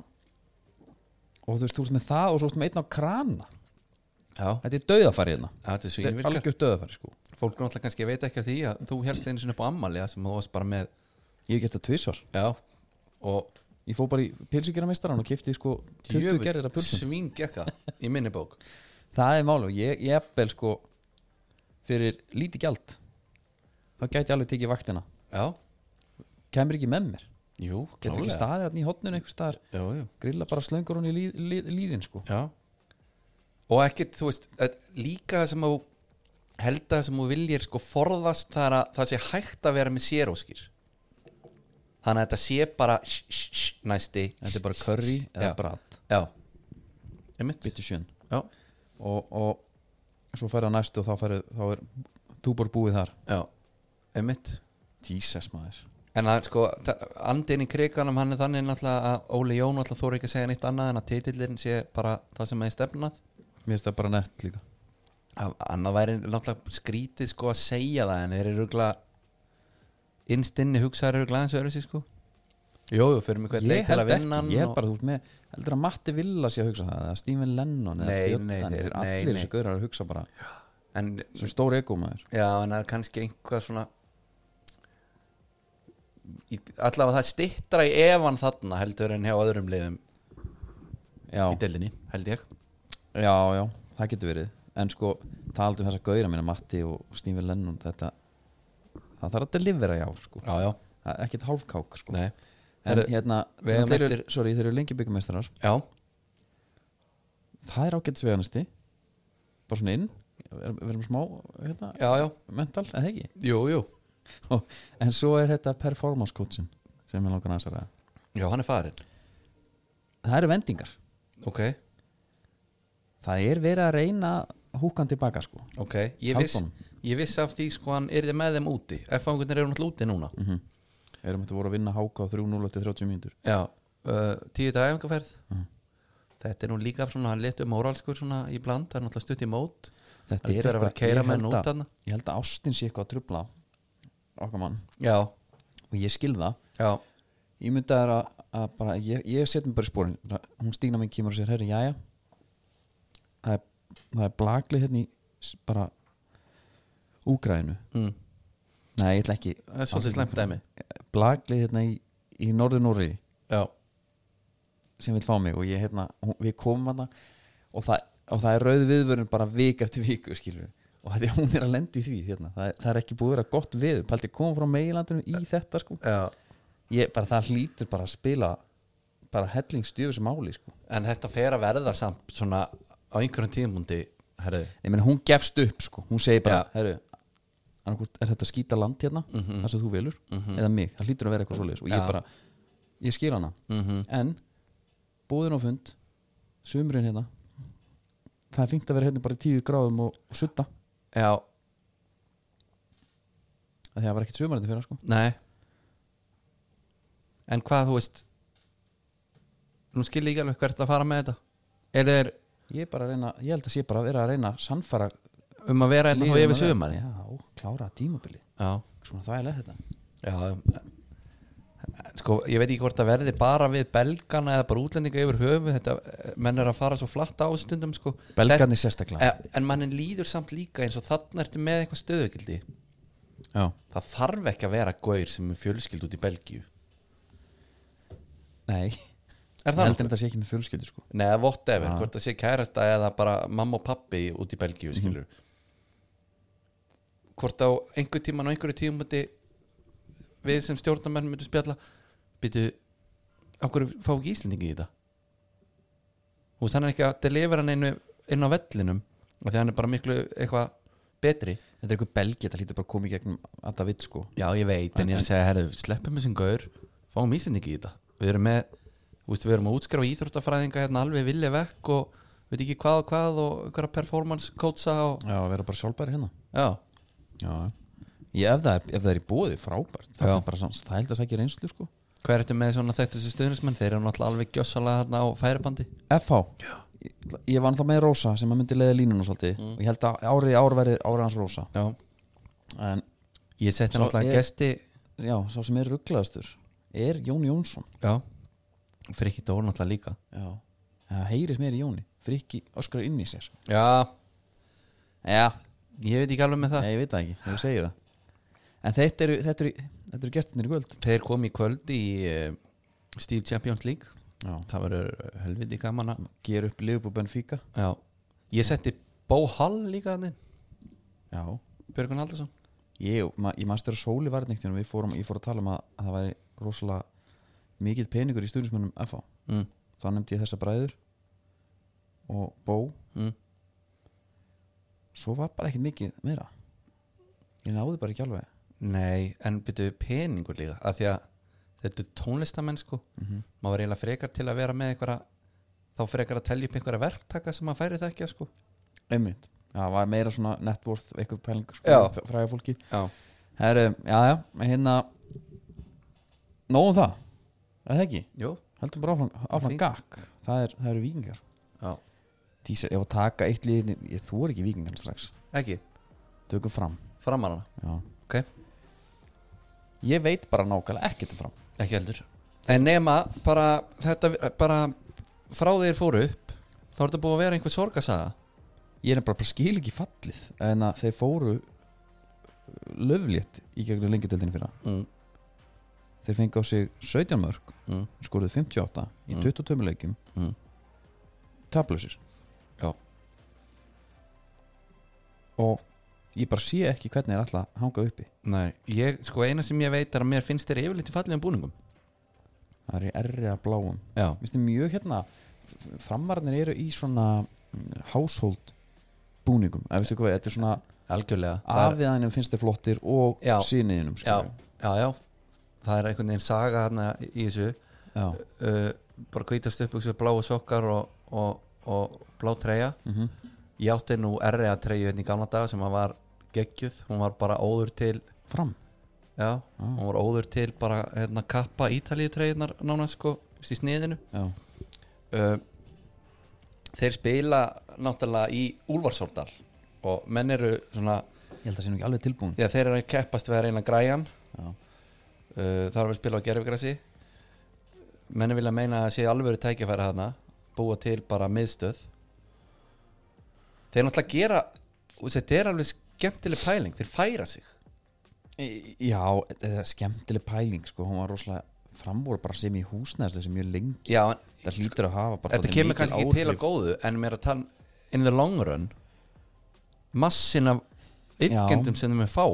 Speaker 1: og þú veist, þú veist með það og svo veist með einn á krana
Speaker 2: já,
Speaker 1: þetta er döðafæri hérna
Speaker 2: þetta er svo
Speaker 1: þetta er algjör döðafæri sko
Speaker 2: fólk náttúrulega kannski veit ekki af því að þú helst einu sinni upp á ammali sem þú varst bara með
Speaker 1: ég hef gert það tvisvar
Speaker 2: já, og
Speaker 1: ég fó bara í pilsugjöramistaran og kipti sko 20 gerðir af pulsum
Speaker 2: svín gekka í minni bók
Speaker 1: það er málu, ég, ég eppel sko fyrir lítið gjald þá gæti ég alveg tekið vaktina
Speaker 2: já,
Speaker 1: kemur ekki með mér
Speaker 2: jú,
Speaker 1: getur ekki staðið hann í hotnun einhvers staðar
Speaker 2: já, já,
Speaker 1: grilla bara slöngur hún í líð, líð, líðin sko
Speaker 2: já og ekkert, þú veist, að- líka það sem þú held að það sem þú viljir sko forðast það er að það sé hægt að vera með séróskir þannig að þetta sé bara sh- sh- sh- næsti
Speaker 1: þetta er bara curry eða
Speaker 2: já,
Speaker 1: brat
Speaker 2: já, einmitt
Speaker 1: bitur sjön
Speaker 2: já,
Speaker 1: og, og svo færðu á næstu og þá færðu þá er túbor búið þar
Speaker 2: já, einmitt
Speaker 1: Jesus maður
Speaker 2: En að, sko, ta- andinn í kriganum hann er þannig náttúrulega að Óli Jón náttúrulega þóra ekki að segja neitt annað en að titillin sé bara það sem er stefnað
Speaker 1: mér finnst það bara nett líka
Speaker 2: Að- Annað væri náttúrulega skrítið sko að segja það en þeir eru rugla innstinni hugsaður eru glæðins og öðru sér sko Jújú, fyrir mig hvert leik
Speaker 1: ég
Speaker 2: til
Speaker 1: held
Speaker 2: að
Speaker 1: ekki,
Speaker 2: vinna hann
Speaker 1: ég held
Speaker 2: og-
Speaker 1: bara þú ert með heldur að Matti Villa sé að hugsa það eða Stephen Lennon eða
Speaker 2: Nei,
Speaker 1: Björn
Speaker 2: nei,
Speaker 1: Daníel,
Speaker 2: þeir- nei,
Speaker 1: allir
Speaker 2: nei.
Speaker 1: þessu gaurar að hugsa bara
Speaker 2: En,
Speaker 1: svo stór ego maður
Speaker 2: já, en það er kannski einhvað svona í- Allavega það stittra í evan þarna heldur en hjá öðrum liðum
Speaker 1: já,
Speaker 2: í deildinni, held ég
Speaker 1: já, já, það getur verið en sko, taldu um þessa gaurar mína Matti og Stephen Lennon þetta það þarf að delivera já sko.
Speaker 2: Já, já,
Speaker 1: það er ekkert hálfkák sko.
Speaker 2: nei
Speaker 1: en
Speaker 2: Herru,
Speaker 1: hérna,
Speaker 2: við eigum
Speaker 1: þeir eru,
Speaker 2: eftir-
Speaker 1: sorry, þeir eru lengi byggamestrar
Speaker 2: Já,
Speaker 1: það er ágætisveganasti bara svona inn, við erum- við erum smá hérna,
Speaker 2: já, já,
Speaker 1: mental, eða ekki
Speaker 2: jú, jú
Speaker 1: en svo er þetta performance coachin sem ég langar aðeins að ræða
Speaker 2: Já, hann er farin
Speaker 1: það eru vendingar,
Speaker 2: Ok,
Speaker 1: það er verið að reyna húkan tilbaka sko
Speaker 2: ok Ég viss,
Speaker 1: Halldór.
Speaker 2: ég viss af því sko hann yrði með þeim úti F-fangurnir eru náttúrulega úti núna
Speaker 1: mm -hmm. erum þetta voru að vinna háka á 3-0 til 30 mínútur
Speaker 2: Já, Mm. uh, tíu dag efingarferð
Speaker 1: Mhm.
Speaker 2: Þetta er nú líka svona litu móralskur svona í bland Það er náttúrulega stutt í mót
Speaker 1: þetta
Speaker 2: Það er að vera að keira
Speaker 1: ég
Speaker 2: menn
Speaker 1: held
Speaker 2: út
Speaker 1: að,
Speaker 2: hann
Speaker 1: ég held að ástin sé eitthvað að trubla á okkar mann
Speaker 2: Já,
Speaker 1: og ég skil það
Speaker 2: já,
Speaker 1: ég myndi að, að bara, ég, ég set mér bara í spórin hún stína minn kemur og sér, herri, jæja það er, það er blaglið hérna í s- bara Úgrænu
Speaker 2: mm.
Speaker 1: nei, ég ætla ekki,
Speaker 2: það er svolítið slæmt dæmi
Speaker 1: blaglið hérna í, í norður Nóri
Speaker 2: Já,
Speaker 1: sem vil fá mig og ég hérna, hún, við komum hana og það, og það er rauð viðvörun bara vik eftir viku, skilur við og þetta, hún er að lendi því, hérna það er, það er ekki búið að vera gott veður, paldi koma frá meilandinu í þetta, sko
Speaker 2: já
Speaker 1: ég, bara það hlýtur bara að spila bara hellingsstjöfu sem máli, sko
Speaker 2: En þetta fer að verða samt svona á einhverjum tímundi Herðu,
Speaker 1: ég meina hún gefst upp sko hún segir bara,
Speaker 2: Já. Mhm.
Speaker 1: herru annarkvort er þetta skýta land hérna það sem þú velur, eða mig, það hlýtur að vera eitthvað svoleiðis og ég
Speaker 2: Já.
Speaker 1: bara, ég skil hana
Speaker 2: Mhm.
Speaker 1: en, búðin á fund sömurinn hérna það er fínt að vera hérna bara í tíu gráðum og, og sutta,
Speaker 2: já,
Speaker 1: að því að það var ekkert sömurinn fyrir sko,
Speaker 2: Nei En hvað þú veist Nú skil ég ekki alveg hvert að fara með þetta Er þeir
Speaker 1: ég er bara að reyna ég held að sé bara að vera að reyna að sannfara
Speaker 2: um að vera hérna
Speaker 1: liðum
Speaker 2: þá
Speaker 1: að
Speaker 2: yfir
Speaker 1: vera-
Speaker 2: sögumari
Speaker 1: já, klára tímabilið
Speaker 2: já,
Speaker 1: svona þvægilega er þetta
Speaker 2: já sko, ég veit ekki hvort það verði bara við belgana eða bara útlendinga yfir höfu þetta, eh, menn er að fara svo flatt á stundum sko. eh,
Speaker 1: Belgarnir sérstaklega
Speaker 2: en, en mannin líður samt líka eins og þarna ertu með eitthvað stöðugildi
Speaker 1: já.
Speaker 2: það þarf ekki að vera gaur sem er fjölskyld út í Belgíu
Speaker 1: Nei,
Speaker 2: er það
Speaker 1: heldur
Speaker 2: nokkuð?
Speaker 1: þetta sé ekki með fjölskyldu sko.
Speaker 2: Nei, whatever,
Speaker 1: Ah.
Speaker 2: hvort það sé kærasta eða bara mamma og pappi út í Belgíu skilur hvort á einhver tíman og einhverju tímandi við sem stjórnarmenn myndum spjalla býtu, á hverju fá ekki Íslendingi í þetta þú veist, hann er ekki að delivera hann einu inn á vellinum af því að hann er bara miklu eitthvað betri
Speaker 1: Þetta er eitthvað belgi, þetta lítur bara að koma í gegnum að það vitt sko
Speaker 2: Já, ég veit, en ég er að segja, herru, sleppum þessum gaur fáum íslendingi í þetta við erum með, þú veist, við erum að útskrifa íþróttafræðinga hérna alveg vilja vekk og veit ekki hvað og hvað og einhverja performance coacha og,
Speaker 1: Já, að vera bara sjálfbæri hérna
Speaker 2: já,
Speaker 1: Já, ég, ef, það er, ef það er í bóði, frábært Það
Speaker 2: Já.
Speaker 1: er bara svona, það held að sækja reynslu sko
Speaker 2: hver ertu með svona þekktu þessu stuðnismenn, þeir eru náttúrulega alveg gjössalega hérna á færibandi,
Speaker 1: FH Ég, ég var náttúrulega með Rósa sem að myndi leiða línuna svolítið og ég held að árið í ár verði árið hans Rósa
Speaker 2: já
Speaker 1: en
Speaker 2: ég setti
Speaker 1: Svo
Speaker 2: náttúrulega
Speaker 1: er-
Speaker 2: gesti,
Speaker 1: já, sá sem er rugglaðastur er Jón Jónsson
Speaker 2: já fyrir ekki dór náttúrulega líka
Speaker 1: já. það heyris mér í Jóni, frikki öskra inn í sér
Speaker 2: já,
Speaker 1: já,
Speaker 2: ég veit ekki alveg með það
Speaker 1: ég veit það ekki, þú segir það en þetta eru, þetta eru, þetta eru gestinir í kvöld
Speaker 2: þeir komi í kvöld í uh, Steve Champions League
Speaker 1: já.
Speaker 2: það verður helviti gaman að
Speaker 1: ger upp Liverpool Benfica
Speaker 2: Já, ég setti Bó Hall líka þannig
Speaker 1: já,
Speaker 2: Björgun Haldarsson
Speaker 1: ég, ma, ég manst þegar sóli var neitt við fórum, ég fór að tala um að, að það væri rosalega mikill peningur í stundismönnum FH
Speaker 2: mm.
Speaker 1: þá nefndi ég þessa bræður og Bó
Speaker 2: Mm.
Speaker 1: svo var bara ekkert mikið meira ég náði bara ekki alveg
Speaker 2: Nei, en byrjuðu peningur líka af því að þetta er tónlistamenn sko maður var eiginlega frekar til að vera með einhverja þá frekar að telja upp einhverja verktaka sem maður færi það ekki sko
Speaker 1: einmitt, já, það var meira svona net worth eitthvað pæling sko,
Speaker 2: Já.
Speaker 1: fræða fólki
Speaker 2: Já,
Speaker 1: Heru, já, já, hérna nóðum það eða ekki,
Speaker 2: jú,
Speaker 1: heldum bara áfram, áfram
Speaker 2: Fínt.
Speaker 1: gakk, það, er, það eru vikingar
Speaker 2: já,
Speaker 1: Dísa, ég var að taka eitt liðin ég þor ekki vikingarna strax,
Speaker 2: ekki
Speaker 1: tökum fram
Speaker 2: framarana,
Speaker 1: já.
Speaker 2: ok,
Speaker 1: ég veit bara nákvæmlega ekkert um fram
Speaker 2: ekki heldur En nema, bara, þetta, bara frá þeir fóru upp þá er þetta búið að vera einhver sorgasaga
Speaker 1: ég er bara, bara skil ekki fallið en að þeir fóru löflétt í gegnum lengjadöldinu fyrra
Speaker 2: mm.
Speaker 1: þeir fengi á sig 17 mörg
Speaker 2: Mm.
Speaker 1: skoruðu 58 í
Speaker 2: Mm.
Speaker 1: 22 leikjum
Speaker 2: Mm.
Speaker 1: taplausir
Speaker 2: Já.
Speaker 1: og ég bara sé ekki hvernig er alltaf að hanga uppi
Speaker 2: Nei, ég, sko eina sem ég veit er að mér finnst þeir yfirleitt í fallegum búningum
Speaker 1: það er í erri að bláum
Speaker 2: Já,
Speaker 1: Mér finnst þið mjög hérna framarnir eru í svona mm, household búningum eða veistu hvað, þetta er svona
Speaker 2: algjörlega Það er,
Speaker 1: afiðanum finnst þið flottir og sko.
Speaker 2: Já.
Speaker 1: síniðinum
Speaker 2: já, já, já Það er einhvern veginn saga hérna í þessu
Speaker 1: já.
Speaker 2: uh, bara hvítast upp bláu sokkar og, og, og blá treyja
Speaker 1: Mhm.
Speaker 2: Ég átti nú R.A. treyju hérna í gamla daga sem að var geggjuð, hún var bara óður til
Speaker 1: fram
Speaker 2: já, hún var óður til bara hérna kappa ítalíu treyjunar nánast sko, þú veist, í sniðinu
Speaker 1: já.
Speaker 2: uh, Þeir spila náttúrulega í Úlfarsárdal og menn eru svona
Speaker 1: ég held að það sé nú ekki alveg tilbúin
Speaker 2: Já, þeir eru að keppast við að reyna græjan
Speaker 1: Já.
Speaker 2: uh, Það er að spila á gerfigrassi Menni vilja meina að það sé alvöru tækifæri hana Búa til bara miðstöð Þeir náttúrulega gera þú veist, Þetta er alveg skemmtileg pæling Þeir færa sig
Speaker 1: Í- Já, þetta er skemmtileg pæling sko, hún var rosalega framvóra bara sem í húsnæðslu sem mjög lengi
Speaker 2: Já, en,
Speaker 1: þetta hlýtur að hafa bara
Speaker 2: Sko, Þetta
Speaker 1: dálítið
Speaker 2: kemur
Speaker 1: mikil
Speaker 2: kannski
Speaker 1: áhrif.
Speaker 2: ekki til að góðu En mér er að tala um in the long run Massin af yfkendum sem þeim er fá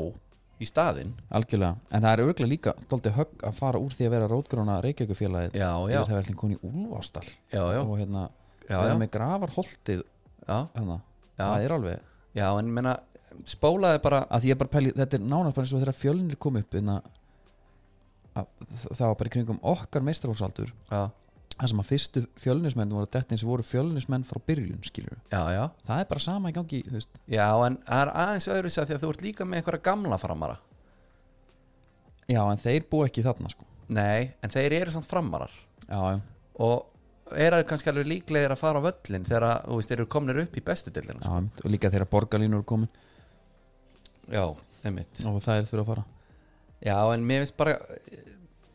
Speaker 2: Í staðinn
Speaker 1: Algjörlega, en það er örgulega líka dálítið högg að fara úr því að vera rótgrána reykjökufélagið
Speaker 2: Já, já,
Speaker 1: það er allir koni í Úlfástal
Speaker 2: já, já,
Speaker 1: og hérna,
Speaker 2: já,
Speaker 1: vera
Speaker 2: já,
Speaker 1: með gravarholtið
Speaker 2: já,
Speaker 1: hana,
Speaker 2: Já.
Speaker 1: það er alveg
Speaker 2: já En menna spólaði bara
Speaker 1: að því ég bara pæli, þetta er nánast bara eins og þegar fjölinir kom upp inna, að, það var bara í kringum okkar meistarhóðsaldur
Speaker 2: Já,
Speaker 1: það sem að fyrstu fjölinismenn voru dettin sem voru fjölinismenn frá byrjun skilur
Speaker 2: já, já
Speaker 1: það er bara sama í gangi þú veist.
Speaker 2: Já, en það er aðeins öðru sér því að þú ert líka með einhverja gamla framara
Speaker 1: já en þeir búa ekki þarna sko
Speaker 2: Nei, en þeir eru samt framarar
Speaker 1: já, já.
Speaker 2: og eru kannski alveg líklegir að fara á völlin þegar að, þú veist, þeir eru komnir upp í bestu dildina
Speaker 1: Já, einmitt. og líka þegar borgarlínur eru komin
Speaker 2: Já, einmitt
Speaker 1: og það er þurfa að fara
Speaker 2: sko? Já, en mér finnst bara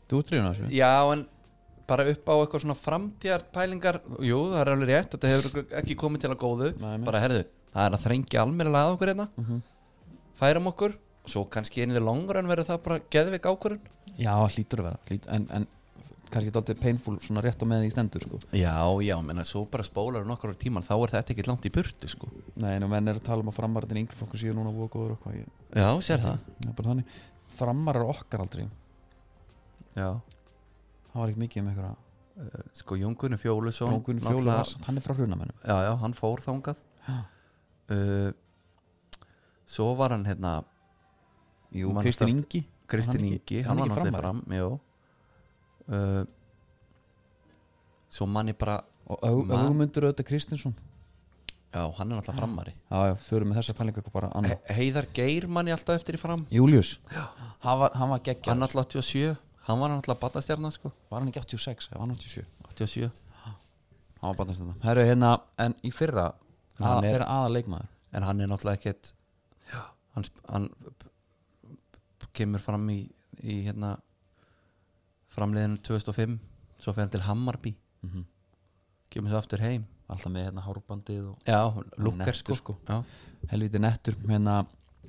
Speaker 1: Þú ert drifin á þessu?
Speaker 2: Já, en bara upp á eitthvað svona framtíðarpælingar Jú, það er alveg rétt, þetta hefur ekki komið til að góðu
Speaker 1: Nei, nei.
Speaker 2: Bara, herðu, það er að þrengja almennilega að okkur hérna
Speaker 1: Mhm.
Speaker 2: Færum okkur Svo kannski einnig við langur en verður það bara geðveik ákvörun
Speaker 1: Já, hlýtur að vera hlýt, en, en kannski dálítið painful svona rétt á meðan því stendur sko.
Speaker 2: Já, já, menna svo bara spólar nokkur tíman Þá er þetta ekki langt í burtu, sko
Speaker 1: Nei, en menn er að tala um að framarðin yngri flokkur síðan núna voru góður og hvað ég,
Speaker 2: Já, sér það
Speaker 1: það er bara þannig framarar okkar aldrei,
Speaker 2: Já,
Speaker 1: það var ekki mikið um einhverja
Speaker 2: sko Jón Gunni Fjólusson
Speaker 1: Jókun Fjólu var, hann er frá hrunamennum
Speaker 2: Já, já, hann fór þangað
Speaker 1: Já.
Speaker 2: uh, Svo var hann hérna
Speaker 1: Jú,
Speaker 2: Mann
Speaker 1: Kristinn
Speaker 2: eftir-
Speaker 1: Ingi
Speaker 2: Kristinn
Speaker 1: Hann ekki-
Speaker 2: Ingi,
Speaker 1: hann
Speaker 2: hann var
Speaker 1: ekki
Speaker 2: náttúrulega fram Jó uh, Svo manni bara
Speaker 1: og Ög-
Speaker 2: Mann-
Speaker 1: Ögmundur auðvitað Kristinsson
Speaker 2: Já, hann er náttúrulega frammari
Speaker 1: Já, já, förum með þessa pælingu eitthvað bara annað
Speaker 2: He Heiðar Geir manni alltaf eftir í fram
Speaker 1: Július, hann var, hann var geggja
Speaker 2: Hann alltaf 87 Hann var náttúrulega batastjarnar sko
Speaker 1: Var hann ekki 86, eða var hann 87
Speaker 2: 87
Speaker 1: Hann var bandast þetta Herru, hérna, en í fyrra
Speaker 2: Hann
Speaker 1: að,
Speaker 2: er-
Speaker 1: Þeirra aða leikmaður
Speaker 2: En hann er náttúrulega ekkert Hann, sp- hann p- p- kemur fram í, í hérna framleiðinu 2005 Svo fer hann til Hammarby
Speaker 1: Mhm.
Speaker 2: Kemur svo aftur heim
Speaker 1: Alltaf með hérna hárbandið og
Speaker 2: Já, lukkar
Speaker 1: nettur,
Speaker 2: sko,
Speaker 1: sko.
Speaker 2: Já,
Speaker 1: helviti nettur Hérna,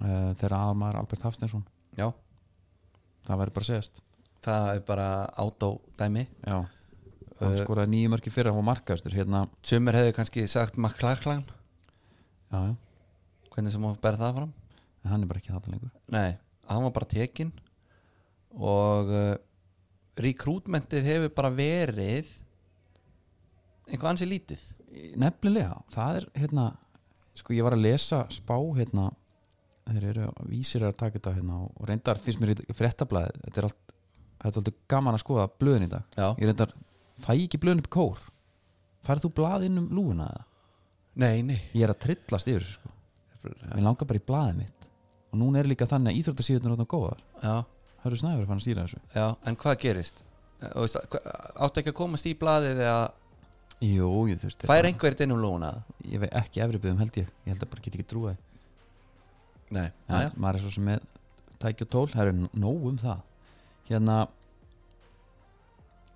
Speaker 1: uh, þeirra aða maður Albert Hafsteinsson
Speaker 2: já
Speaker 1: Það væri bara að segjast
Speaker 2: það er bara autodæmi
Speaker 1: Já, Eh, hann
Speaker 2: Uh,
Speaker 1: skoraði nýju mörki fyrra og markaðastur Hérna,
Speaker 2: sumir hefðu kannski sagt McLachlan
Speaker 1: já, já,
Speaker 2: hvernig sem hún ber það fram
Speaker 1: en hann er bara ekki þetta lengur
Speaker 2: nei, hann var bara tekin og uh, rekrútmentið hefur bara verið einhvað ansi lítið
Speaker 1: Nefnilega, það er hérna Sko, ég var að lesa spá hérna Þeir eru vísir að taka þetta hérna Og reyndar finnst mér í fréttablaðið Þetta er allt, þetta er allt gaman að skoða blöðin í dag
Speaker 2: já,
Speaker 1: ég reyndar, fæ ég ekki blöðin upp í kór færðu þú blað inn um lúuna eða?
Speaker 2: nei, nei
Speaker 1: ég er að trillast yfir þessu sko
Speaker 2: já,
Speaker 1: ég langar bara í blaðið mitt og núna er líka þannig að íþróttasíðunar er góðar
Speaker 2: já,
Speaker 1: Hörður Snæður fann að stýra þessu
Speaker 2: já, en hvað gerist Eh, þú veist, hva- áttu ekki að komast í blaðið eða
Speaker 1: Jú, ég þurfti
Speaker 2: fær einhverjum inn um lóna
Speaker 1: Ég veit ekki efri byggðum held ég Ég held að bara get ekki trúa því
Speaker 2: nei,
Speaker 1: En
Speaker 2: já, já,
Speaker 1: Maður er svo sem með tæki og tól Það eru nóg um það Hérna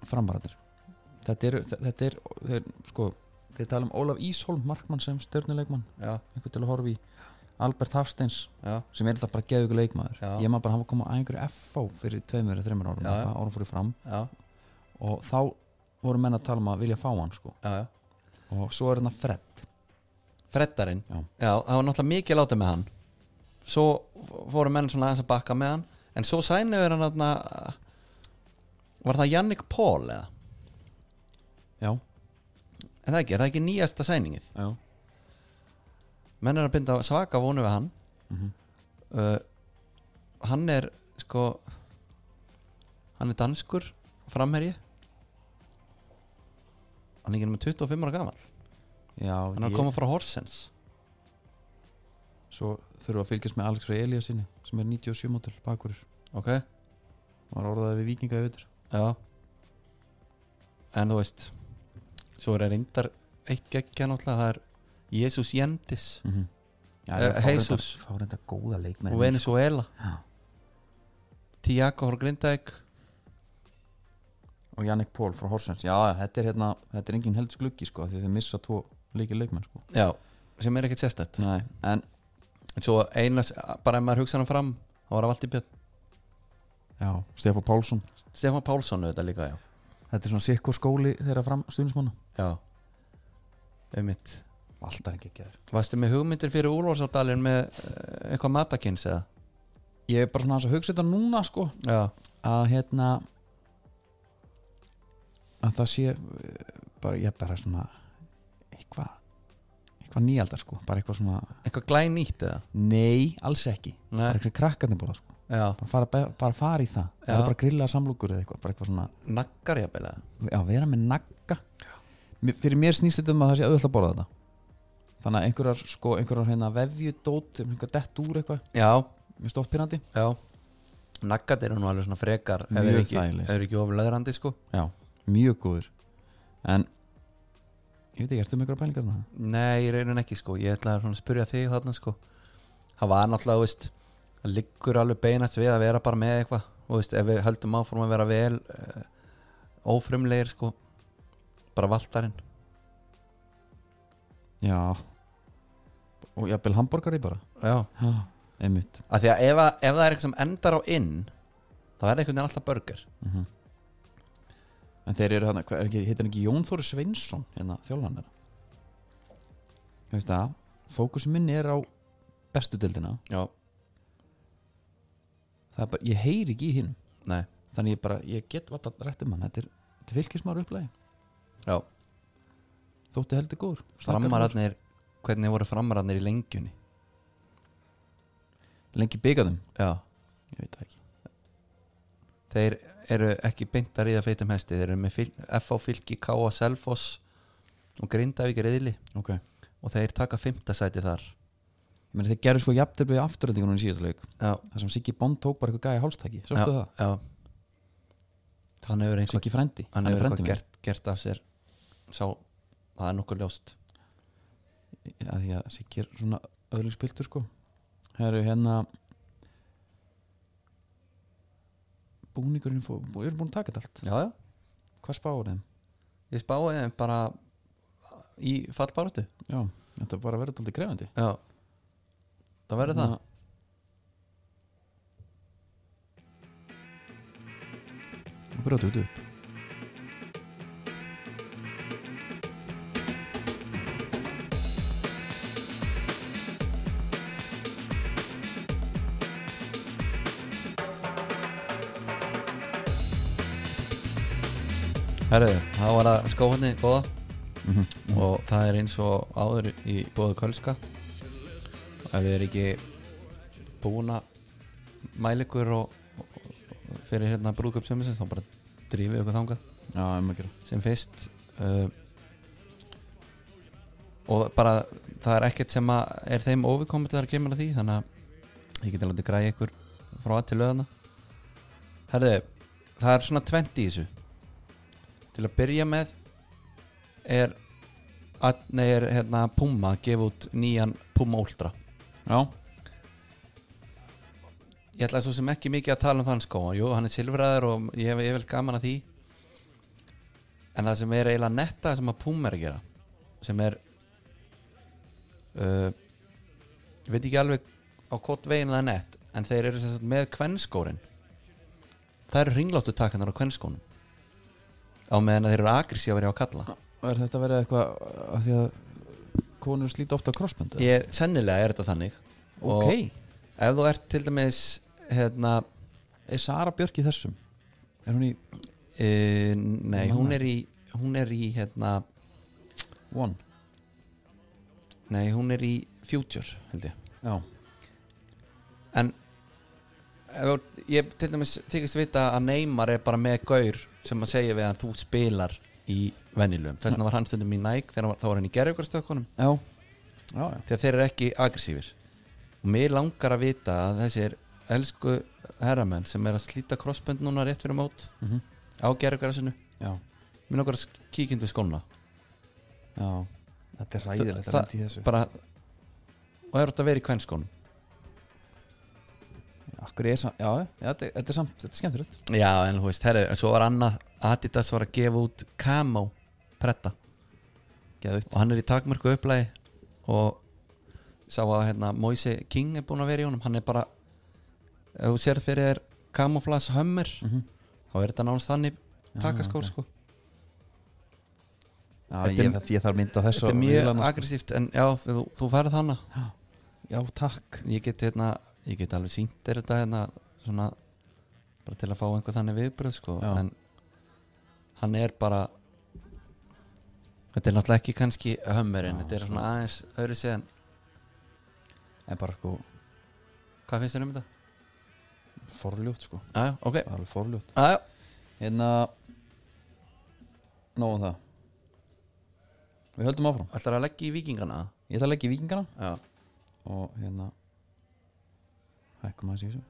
Speaker 1: Frambaratir Þetta er, þetta er, þeir, sko Þeir tala um Ólaf Ísholm Markmann sem stjörnuleikmann
Speaker 2: já,
Speaker 1: Einhver til að horfa í Albert Hafsteins
Speaker 2: já,
Speaker 1: sem er alltaf bara geðugur leikmaður
Speaker 2: Já.
Speaker 1: ég maður bara hafa komið að einhverju FH fyrir tveimur eða þreimur árum,
Speaker 2: Já, já.
Speaker 1: eitthvað, árum fyrir fram
Speaker 2: já,
Speaker 1: og þá voru menn að tala um að vilja fá hann sko.
Speaker 2: já, já.
Speaker 1: og svo er hérna hann að fredd
Speaker 2: Freddarinn
Speaker 1: Já.
Speaker 2: það var náttúrulega mikið látið með hann Svo f- fóru menn svona aðeins að bakka með hann En svo sæniður hann aðna, Var það Jannik Paul eða?
Speaker 1: já,
Speaker 2: En það ekki, er það ekki nýjasta sæningið
Speaker 1: já,
Speaker 2: Menn er að binda svaka vonu við hann
Speaker 1: Mhm.
Speaker 2: uh, Hann er sko Hann er danskur Framherji Hann er ekki nema 25 ára gamall
Speaker 1: já
Speaker 2: Hann er að
Speaker 1: ég,
Speaker 2: koma frá Horsens
Speaker 1: svo þurfum við að fylgjast með Alex Frey Eliassinni sem er 97 mótil bakurir
Speaker 2: Ok,
Speaker 1: var orðaði við vikinga í vitur
Speaker 2: Já En þú veist Svo er reyndar eitt geggja náttúrulega Það er Jésús Jendis
Speaker 1: mm -hmm.
Speaker 2: Eh, Jesus.
Speaker 1: fá reynda góða
Speaker 2: og
Speaker 1: leikmenn
Speaker 2: Venezuela
Speaker 1: Já.
Speaker 2: Tiago Hór Grindæk
Speaker 1: og Jannik Pól frá Horsens já, já, þetta er hérna, þetta er engin helds gluggi sko, af því þeir missa tvo leikir leikmenn sko.
Speaker 2: Já, sem er ekkert sérstætt
Speaker 1: Nei, en
Speaker 2: En svo einas, bara ef maður hugsa hann fram þá var að valdi björn
Speaker 1: já, Stefán Pálsson
Speaker 2: Stefán Pálsson auðvitað líka, já
Speaker 1: Þetta er svona sikko skóli þeirra fram stuðnismanna
Speaker 2: Já Einmitt
Speaker 1: Alltaf ekki ekki þér
Speaker 2: Varstu með hugmyndir fyrir úrvalsárdalinn með eh, eitthvað matakins eða?
Speaker 1: Ég er bara svona aðeins að hugsa þetta núna sko
Speaker 2: Já,
Speaker 1: að hérna að það sé eh, bara ég er bara svona eitthvað eitthvað nýjaldar sko bara eitthvað svona
Speaker 2: eitthvað glænýtt eða?
Speaker 1: nei, alls ekki
Speaker 2: Nei,
Speaker 1: bara eitthvað krakkarnir borða sko
Speaker 2: já,
Speaker 1: bara fara, bara fara í það
Speaker 2: Já.
Speaker 1: það er bara grillaða samlúkur eða eitthvað bara eitthvað svona
Speaker 2: naggar jafnvel eða?
Speaker 1: já, vera með nagga Mér- fyrir mér snýst þetta um að það sé auðvitað að borða þetta þannig að einhverjar sko einhverjar hérna vefjudót einhverjar dett úr eitthvað
Speaker 2: Já,
Speaker 1: mér stótt pyrrandi
Speaker 2: Já Naggat eru nú alveg svona frekar ef
Speaker 1: Mjög
Speaker 2: þeir ekki,
Speaker 1: þægilegir.
Speaker 2: ef þeir ekki oflaðurandi sko
Speaker 1: Já, mjög góður En Ég veit ekki, ertu með einhverja pælingar með það?
Speaker 2: Nei, ég raunin ekki sko Ég ætlaði svona að spyrja þig þarna sko Það var náttúrulega, þú veist það liggur alveg beinast við að vera bara með eitthvað og veist, ef við höldum áfram að vera vel uh, ófrumlegir sko bara valtarinn
Speaker 1: já og jafnvel hambúrgari bara
Speaker 2: já,
Speaker 1: já, einmitt
Speaker 2: af því að ef, að- ef það er eitthvað sem endar á inn þá er einhvern veginn alltaf burger
Speaker 1: Mhm. en þeir eru hann, er ekki, heitir hann ekki Jón Þóri Sveinsson hérna þjálfann þeirra þú veist það, fókusin minn er á bestu deildina
Speaker 2: já,
Speaker 1: það er bara, ég heyri ekki í hinn
Speaker 2: nei,
Speaker 1: þannig ég bara, ég get vart að rætt um hann þetta er, þetta er fylgismáru upplægi,
Speaker 2: já
Speaker 1: þóttu heldur góður Snakkar
Speaker 2: framararnir, hvernig voru framararnir í lengjunni
Speaker 1: góður. lengi byggaðum,
Speaker 2: já,
Speaker 1: ég veit það ekki
Speaker 2: þeir eru ekki beint að ríða feitum hesti, þeir eru með fíl, FH Fylki, K.A. Selfoss og Grindavík reyðli
Speaker 1: ok, ég
Speaker 2: og þeir taka fymta sæti þar
Speaker 1: meina þeir gerðu svo jafnir við afturöndingunum í síðasta leik
Speaker 2: já,
Speaker 1: þar sem Siggi Bond tók bara eitthvað gæja hálstæki
Speaker 2: já,
Speaker 1: sástu það,
Speaker 2: já hann hefur einhvað,
Speaker 1: Siggi frendi,
Speaker 2: hann hefur
Speaker 1: frendi
Speaker 2: eitthvað
Speaker 1: minn.
Speaker 2: gert, gert af sér sá, það er nokkuð ljóst
Speaker 1: að því að Siggi er svona öðlug spiltur sko Herru, hérna búningurinn fó, bú, ég er búin að taka þetta allt
Speaker 2: já, já,
Speaker 1: hvað spáður þeim?
Speaker 2: ég spáði þeim bara í fallbáratu
Speaker 1: Já, þetta er bara að vera tóldi krefandi
Speaker 2: já, það verður það
Speaker 1: og brjótu þetta upp
Speaker 2: Herðu, þá var það skóðinni góða
Speaker 1: Mhm.
Speaker 2: og það er eins og áður í bóðu kölska ef við erum ekki búin að mæla ykkur og, og, og fyrir hérna brúðköp sömmisins þá bara drífið ykkur þangað
Speaker 1: Já, um að gera
Speaker 2: sem fyrst uh, og bara það er ekkert sem að er þeim óvikomið þegar kemur að því þannig að ég geti látið græja ykkur frá að til löðana Herðu, það er svona 20 í þessu til að byrja með er að, nei, er hérna Puma að gefa út nýjan Puma Ultra
Speaker 1: Já,
Speaker 2: ég ætla svo sem ekki mikið að tala um þann skó jú, hann er silfraður og ég hef yfirlega gaman að því en það sem er eiginlega netta sem að Puma er að gera sem er uh, ég veit ekki alveg á hvort veginn það er nett en þeir eru sem sagt með kvenskórin það eru ringláttu takkanar á kvenskónum á meðan að þeir eru agressífari á kalla
Speaker 1: og er þetta verið eitthvað að því að konur slíti ofta crossböndu?
Speaker 2: ég, sennilega er þetta þannig og
Speaker 1: Ok,
Speaker 2: ef þú ert til dæmis hérna
Speaker 1: er Sara Björk í þessum? Er hún í
Speaker 2: Uh, nei,
Speaker 1: Manna.
Speaker 2: hún er í hún er í hérna
Speaker 1: One?
Speaker 2: nei, hún er í Future held ég
Speaker 1: Já,
Speaker 2: en ef þú- ég til dæmis þykist vita að Neymar er bara með gaur sem að segja við hann þú spilar í venjulegum þess vegna var hann stundum í Nike þegar hann var, þá var hann í gerðugarstökkunum
Speaker 1: já, já, já.
Speaker 2: þegar þeir eru ekki agressífir og mér langar að vita að þessir elsku herramenn sem er að slíta crossbund núna rétt fyrir mót
Speaker 1: Mm
Speaker 2: á gerðugarsinu
Speaker 1: já.
Speaker 2: mér langar að kíkja undir skóna
Speaker 1: já. Þetta er
Speaker 2: hræðilegt að lenda
Speaker 1: í þessu
Speaker 2: bara og er þetta að vera í kvennskónum
Speaker 1: Akkur er samt, já, já þetta, er, þetta er samt, þetta er skemmtilegt
Speaker 2: Já, en þú veist, herri, en svo var annað Adidas var að gefa út Camo pretta
Speaker 1: Geðvitt
Speaker 2: og hann er í takmörku upplægi og sá að hérna Moise King er búin að vera í honum hann er bara, ef þú sér fyrir þér Camouflage Hummer
Speaker 1: Mhm.
Speaker 2: þá er þetta nánast þannig takaskór
Speaker 1: ok.
Speaker 2: sko
Speaker 1: Já,
Speaker 2: Þetta
Speaker 1: ég,
Speaker 2: er-
Speaker 1: ég, þarf mynd á þessu
Speaker 2: Þetta er
Speaker 1: og
Speaker 2: mjög
Speaker 1: vélana, sko.
Speaker 2: aggressíft en já, þú, þú færð hana
Speaker 1: Já, takk
Speaker 2: ég get hérna, ég get alveg sínt þér þetta hérna, svona bara til að fá einhver þannig viðbröð sko
Speaker 1: Já.
Speaker 2: en hann er bara þetta er náttúrulega ekki kannski hömmurinn,
Speaker 1: Já,
Speaker 2: þetta er
Speaker 1: svona.
Speaker 2: svona aðeins öðru séðan,
Speaker 1: En bara sko,
Speaker 2: hvað finnst þér um þetta?
Speaker 1: forljótt sko
Speaker 2: Já, já, ok,
Speaker 1: Það er alveg forljótt
Speaker 2: já, já,
Speaker 1: Hérna Nóðum það Við höldum áfram
Speaker 2: ætlar að leggja í vikingana
Speaker 1: Ég ætla að leggja í vikingana
Speaker 2: já,
Speaker 1: Og hérna Hækkum aðeins í þessu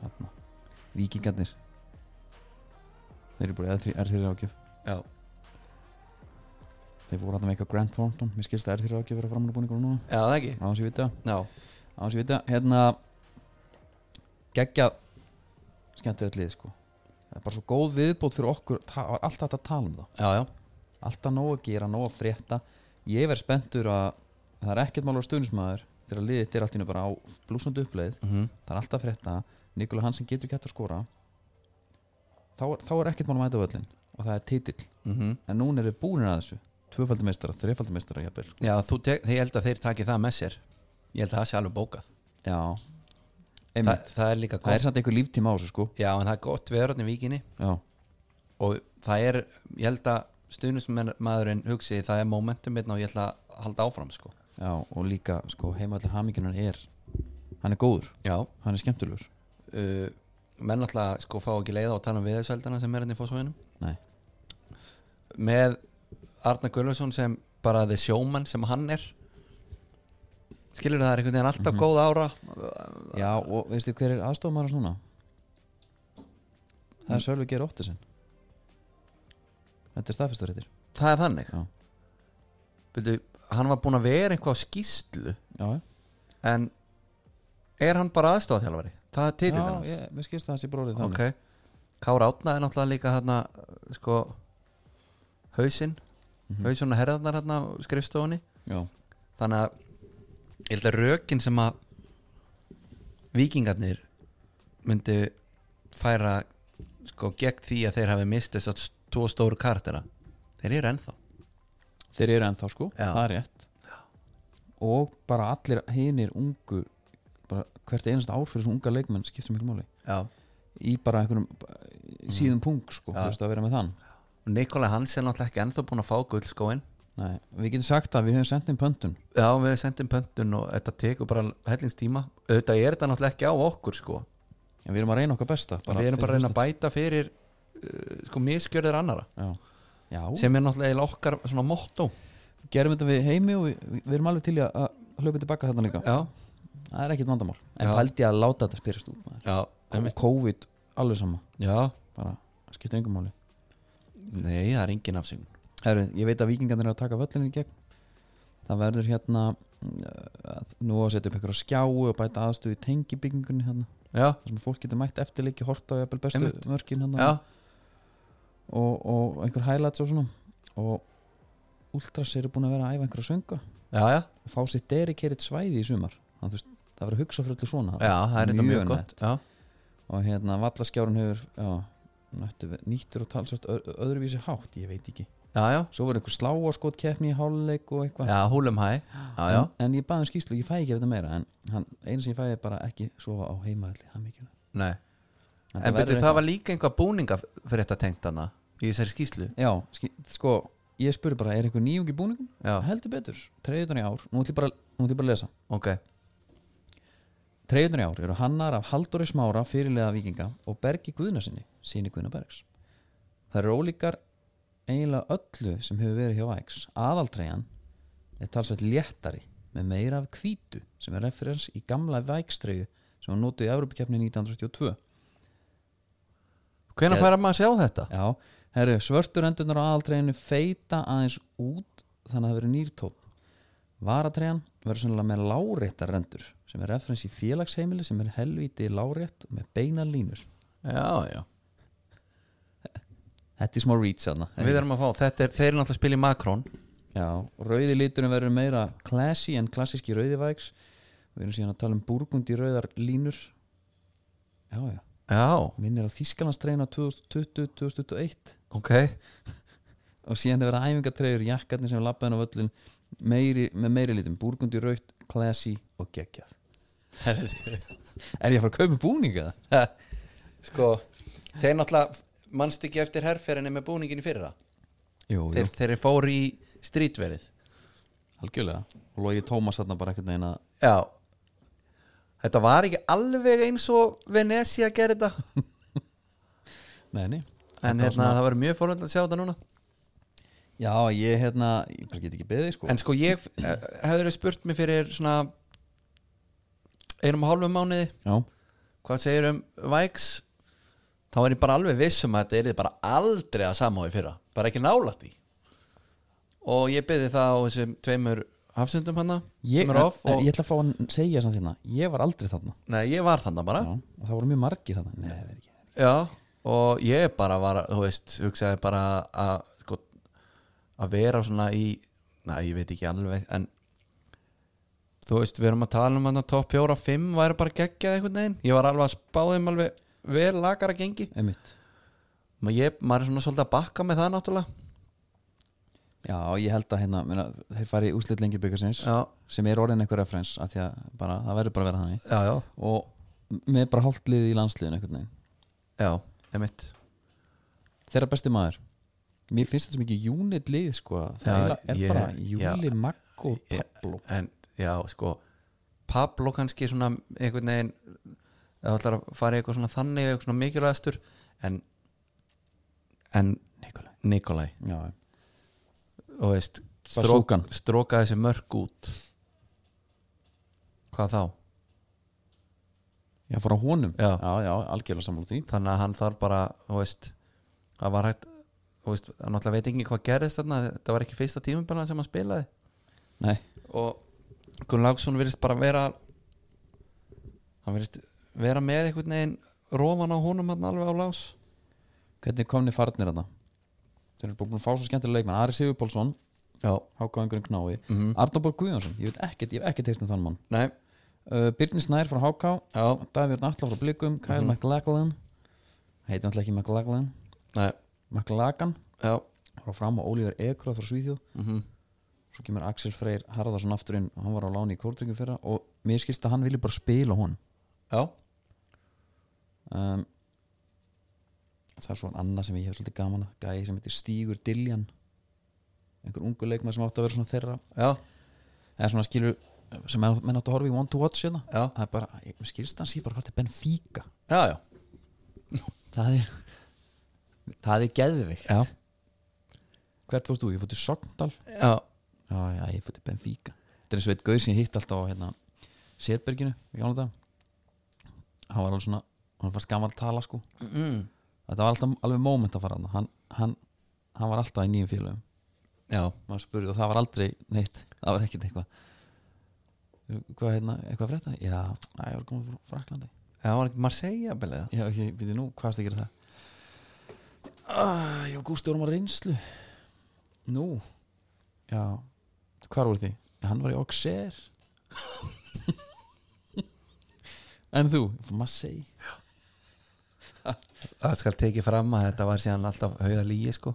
Speaker 1: Þarna Víkingarnir Þeir eru bara R3 R3 ágjöf
Speaker 2: já,
Speaker 1: Þeir voru hann með eitthvað Grant Thornton Mér skilst að R3 ágjöf vera framan á búningur núna
Speaker 2: já, það ekki
Speaker 1: Á þess ég viti það
Speaker 2: já,
Speaker 1: á þess að vita hérna geggja skemmtilegt lið sko það er bara svo góð viðbót fyrir okkur það var allt hægt að tala um það
Speaker 2: já, já,
Speaker 1: alltaf nóg að gera, nóg að frétta ég verð spenntur að það er ekkert mál að stuðnismæður þegar liðið þetta er allt í einu bara á blúsandi uppleið
Speaker 2: mm
Speaker 1: það er alltaf að frétta, Nikola Hansen getur ekki hægt að skora þá er, þá er ekkert mál að mæta völlin og það er titill
Speaker 2: mhm.
Speaker 1: en núna eru búin að þessu tvöfaldimeistara, þrefaldimeistara jafnvel
Speaker 2: já þú tek, ég held að þeir taki það með sér ég held að það sé alveg bókað
Speaker 1: já,
Speaker 2: Þa,
Speaker 1: einmitt
Speaker 2: það er líka
Speaker 1: það
Speaker 2: gott
Speaker 1: er samt einhver líftíma á þessu sko
Speaker 2: já, en það er gott veðröðn í vikinni
Speaker 1: já,
Speaker 2: og það er, ég held að stuðnismæðurinn hugsi það er momentum hérna og ég ætla að halda áfram sko.
Speaker 1: já, og líka sko heimallur hamingunan er hann er góður,
Speaker 2: já,
Speaker 1: hann er skemmtulegur
Speaker 2: uh, menn alltaf sko fá ekki leiða og tala um viðarsældana sem er hérna í fósfóinum
Speaker 1: nei,
Speaker 2: með Arna Gullarsson sem bara the showman sem hann er skilur það er einhvern veginn
Speaker 1: Mhm.
Speaker 2: alltaf góð ára
Speaker 1: já og veistu hver er aðstofamæður núna? það er Sölvi Geir Óttisen þetta er staðfestaréttir
Speaker 2: það er þannig
Speaker 1: Já.
Speaker 2: Byrju, hann var búin að vera eitthvað á skýslu
Speaker 1: já, já.
Speaker 2: en er hann bara aðstofatjálfari það er titillin
Speaker 1: já,
Speaker 2: hans
Speaker 1: ég, mér skilst það hans í bróðið þannig
Speaker 2: ok Kára Átna er náttúrulega líka hérna sko hausinn mm -hmm. hausinn og herðarnar hérna á skrifstofunni
Speaker 1: Mhm. já,
Speaker 2: þannig að ég held að rökin sem að vikingarnir myndi færa sko gegn því að þeir hafi mist þess að tvo stóru kartera þeir eru ennþá
Speaker 1: þeir eru ennþá sko,
Speaker 2: Já.
Speaker 1: það er rétt og bara allir hinir ungu bara hvert einasta ár fyrir svona unga leikmenn skiptir miklu máli
Speaker 2: Já.
Speaker 1: í bara einhverjum mm. síðum punk sko, þú veist að vera með þann
Speaker 2: Nikola Hans er náttúrulega ekki ennþá búin að fá gullskóin
Speaker 1: Nei, við getum sagt að við höfum sendt inn pöntun
Speaker 2: já við sendum pöntun og þetta tekur bara hellingstíma auðvitað er þetta náttúrulega ekki á okkur sko
Speaker 1: en við erum að reyna okkar besta
Speaker 2: við erum bara að reyna að bæta fyrir uh, sko miskjörðir annara
Speaker 1: já. já,
Speaker 2: sem er náttúrulega eiginlega okkar svona motto
Speaker 1: gerum þetta við heimi og við, við erum alveg til í að- að hlaupa tilbaka þetta líka
Speaker 2: já,
Speaker 1: það er ekkit vandamál, en
Speaker 2: Já.
Speaker 1: hældi að láta þetta spyrjast út maður.
Speaker 2: já,
Speaker 1: og COVID alveg sama,
Speaker 2: já
Speaker 1: bara skipta yngum máli
Speaker 2: nei, það er engin afsökun
Speaker 1: Herru, ég veit að vikingarnir eru að taka völlinu í gegn það verður hérna uh, nú á að setja upp einhverja skjáu og bæta aðstöðu í tengibyggingunni hérna
Speaker 2: já,
Speaker 1: þar sem fólk getur mætt eftirleiki, horta á jafnvel bestu
Speaker 2: Einmitt.
Speaker 1: mörkin hérna
Speaker 2: já,
Speaker 1: og, og einhver highlights og svona og Ultras eru búin að vera að æfa einhverja sönga
Speaker 2: já, já,
Speaker 1: og fá sér derikerit svæði í sumar það, veist, það verður að hugsa fyrir öllu svona
Speaker 2: já það er þetta
Speaker 1: Mjög
Speaker 2: mjög gott já,
Speaker 1: og hérna vallaskjárun hefur já, nættu, nýttur og talsvægt öðruvísi hátt, ég veit ekki
Speaker 2: já, já,
Speaker 1: svo verður einhver sláaskot keppni í háluleik og eitthvað
Speaker 2: já húlum hæ já, já,
Speaker 1: en, en ég baði um skýslu, ég fæ ekki þetta meira en hann, einu sem ég fæ er bara ekki sofa á heimaðli það mikið
Speaker 2: nei en betur það var líka einhvað búninga fyrir þetta tengt hana í þessari skýslu
Speaker 1: já, ski, sko, ég spurði bara, er einhver nýjungi búningum?
Speaker 2: já,
Speaker 1: heldur betur, treyðunar í ár nú ætlum ég bara, nú ætlum ég bara að lesa
Speaker 2: ok,
Speaker 1: treyðunar í ár eru hannar af Halldóri Smára fyrirlega vikinga og Bergi Guðnarsinni síni Guðnabergs það eru ólíkar eiginlega öllu sem hefur verið hjá Ajax aðaltreyjan er talsvægt léttari með meira af hvítu sem er referens í gamla vækstreyju sem var notuð í Evrópikeppni 1932
Speaker 2: hvenær
Speaker 1: Ég-
Speaker 2: færa maður að sjá þetta
Speaker 1: Já, herru, svörtur endurnar á aðaltreginu feita aðeins út þannig að það verður nýr tóp Varatregan verður sennilega með láréttar rendur sem er referens í félagsheimili sem er helviti lárétt með beina línur
Speaker 2: já, já,
Speaker 1: Þetta er smá reach þarna
Speaker 2: við erum að fá þetta er, þeir eru náttúrulega að spila í Makrón
Speaker 1: Já, rauði liturinn verður meira classy en klassíski rauðivægs Við erum síðan að tala um burgundi rauðar línur Já, já,
Speaker 2: já,
Speaker 1: minn er á Þískalandstreina 2020-2021
Speaker 2: ok,
Speaker 1: og síðan hefur það æfingatreyjur jakkarnir sem lappaðin á völlin meiri, með meiri litum, búrgundi raukt classy og geggjað er ég að fara að kaupa búninga það?
Speaker 2: sko þeir náttúrulega mannst ekki eftir herrferinni með búningin í fyrra
Speaker 1: Jú,
Speaker 2: þeir, þeir fóru í strítverið
Speaker 1: algjörlega og logi Tómas þarna bara ekkert neina
Speaker 2: já þetta var ekki alveg eins og Venecia gerði þetta
Speaker 1: neini,
Speaker 2: en hérna, það var mjög fórhund að sjá þetta núna
Speaker 1: já ég hérna ég bara get ekki beðið sko
Speaker 2: en sko ég hefur spurt mér fyrir svona einum og hálfum mánuði
Speaker 1: já,
Speaker 2: hvað segir um Væks þá er ég bara alveg viss um að þetta er bara aldrei að samhói fyrra, bara ekki nálætt í og ég byrði það á þessum tveimur hafsundum hana
Speaker 1: ég,
Speaker 2: sem er off
Speaker 1: en
Speaker 2: og,
Speaker 1: ég ætla að fá að segja samt hérna ég var aldrei þarna
Speaker 2: Nei, ég var þannig bara
Speaker 1: Já, og það voru mjög margir þarna Nei, það er ekki.
Speaker 2: Já, og ég bara var, þú veist, hugsaði bara að sko, að vera svona í, næ, ég veit ekki alveg, en þú veist, við erum að tala um hann að topp 4 og 5 væri bara geggjað einhvern veginn, ég var alveg að spáðum alveg vel lagara gengi,
Speaker 1: Einmitt.
Speaker 2: Ma ég, maður er svona svolítið að bakka með það náttúrulega,
Speaker 1: Já, ég held að hérna meina, þeir fari í úslit lengi byggarsins
Speaker 2: já,
Speaker 1: sem er orðin einhver referens að að bara, það verður bara að vera þannig
Speaker 2: já, já,
Speaker 1: og með bara hálftlið í landsliðinu einhvern veginn
Speaker 2: já, emitt,
Speaker 1: þeirra besti maður mér finnst þetta sem ekki unit lið sko.
Speaker 2: Já,
Speaker 1: það já, er
Speaker 2: ég-
Speaker 1: bara
Speaker 2: já.
Speaker 1: Júli, Maggo og
Speaker 2: Ég-
Speaker 1: Pablo
Speaker 2: en já, sko, Pablo kannski svona einhvern veginn, eða ætlar að fara í eitthvað svona þannig, eitthvað svona mikilvægastur, en, en
Speaker 1: Nikolai
Speaker 2: Nikolai
Speaker 1: já,
Speaker 2: og veist strók,
Speaker 1: Bazookan.
Speaker 2: stróka þessi mörk út hvað þá
Speaker 1: já, fór á honum
Speaker 2: Já.
Speaker 1: já, algjörlega sammála því
Speaker 2: þannig að hann þarf bara þú veist, það var hægt þú veist, hann náttúrulega veit ekki hvað gerðist þarna þetta var ekki fyrsta tímubilna sem hann spilaði
Speaker 1: Nei,
Speaker 2: og Gunn Láksson virðist bara vera hann virðist vera með einhvern veginn rófan á honum hann alveg á lás
Speaker 1: hvernig komni farnir þarna þeir eru búin að fá svo skemmtilega leikmann Ari Sigurpálsson,
Speaker 2: já,
Speaker 1: Hákaðingurinn Knái mm.
Speaker 2: mm
Speaker 1: Arnóborg Guðjónsson, ég veit ekkert, ég hef ekkert teist um þann mann
Speaker 2: nei,
Speaker 1: uh, Birnir Snær frá Háká
Speaker 2: já,
Speaker 1: Davíð Natla frá Blikum, Kyle
Speaker 2: Mhm.
Speaker 1: McLaglan heitir náttúrulega ekki McLaglan
Speaker 2: nei,
Speaker 1: McLagan
Speaker 2: já
Speaker 1: frá fram og Ólífur Ekroð frá Svíþjó
Speaker 2: mm
Speaker 1: svo kemur Axel Freyr Harðarsson aftur inn og hann var á láni í kórdryggum fyrra og mér skilst að hann vilja bara spila hún
Speaker 2: já,
Speaker 1: um, það er svo annað sem ég hef svolítið gaman að gæði sem heitir Stígur Diljan einhver ungu leikmað sem átti að vera svona þeirra
Speaker 2: já,
Speaker 1: eða svona skilur sem menn, menn áttu að horfa í One to Watch hérna
Speaker 2: já,
Speaker 1: það er bara, ég, mér skilst að hann sé bara hvað til Benfica
Speaker 2: já, já.
Speaker 1: það er það er geðvikt
Speaker 2: Já.
Speaker 1: hvert fórst þú, ég fór til Sogndal
Speaker 2: já.
Speaker 1: já, já, ég fór til Benfica þetta er eins og eitt gauð sem ég hitt alltaf á hérna, Setberginu í gamla dag hann var alveg svona hann fannst gaman að tala sko
Speaker 2: Mm.
Speaker 1: þetta var alltaf alveg moment að fara þarna. hann hann, hann var alltaf í nýjum félögum
Speaker 2: já.
Speaker 1: maður spurði og það var aldrei neitt það var ekkert eitthvað hvað hérna, eitthvað að frétta? já, að ég var komin frá Fraklandi
Speaker 2: Já, var ekki Marseille að byrja
Speaker 1: já, ok, býtti nú, hvað varst að gera það ah, já, Gústi vorum á reynslu nú já, hvar voru því? hann var í Auxerre en þú, fyrir Marseille
Speaker 2: Það skal tekið fram að þetta var síðan alltaf hauga lígi sko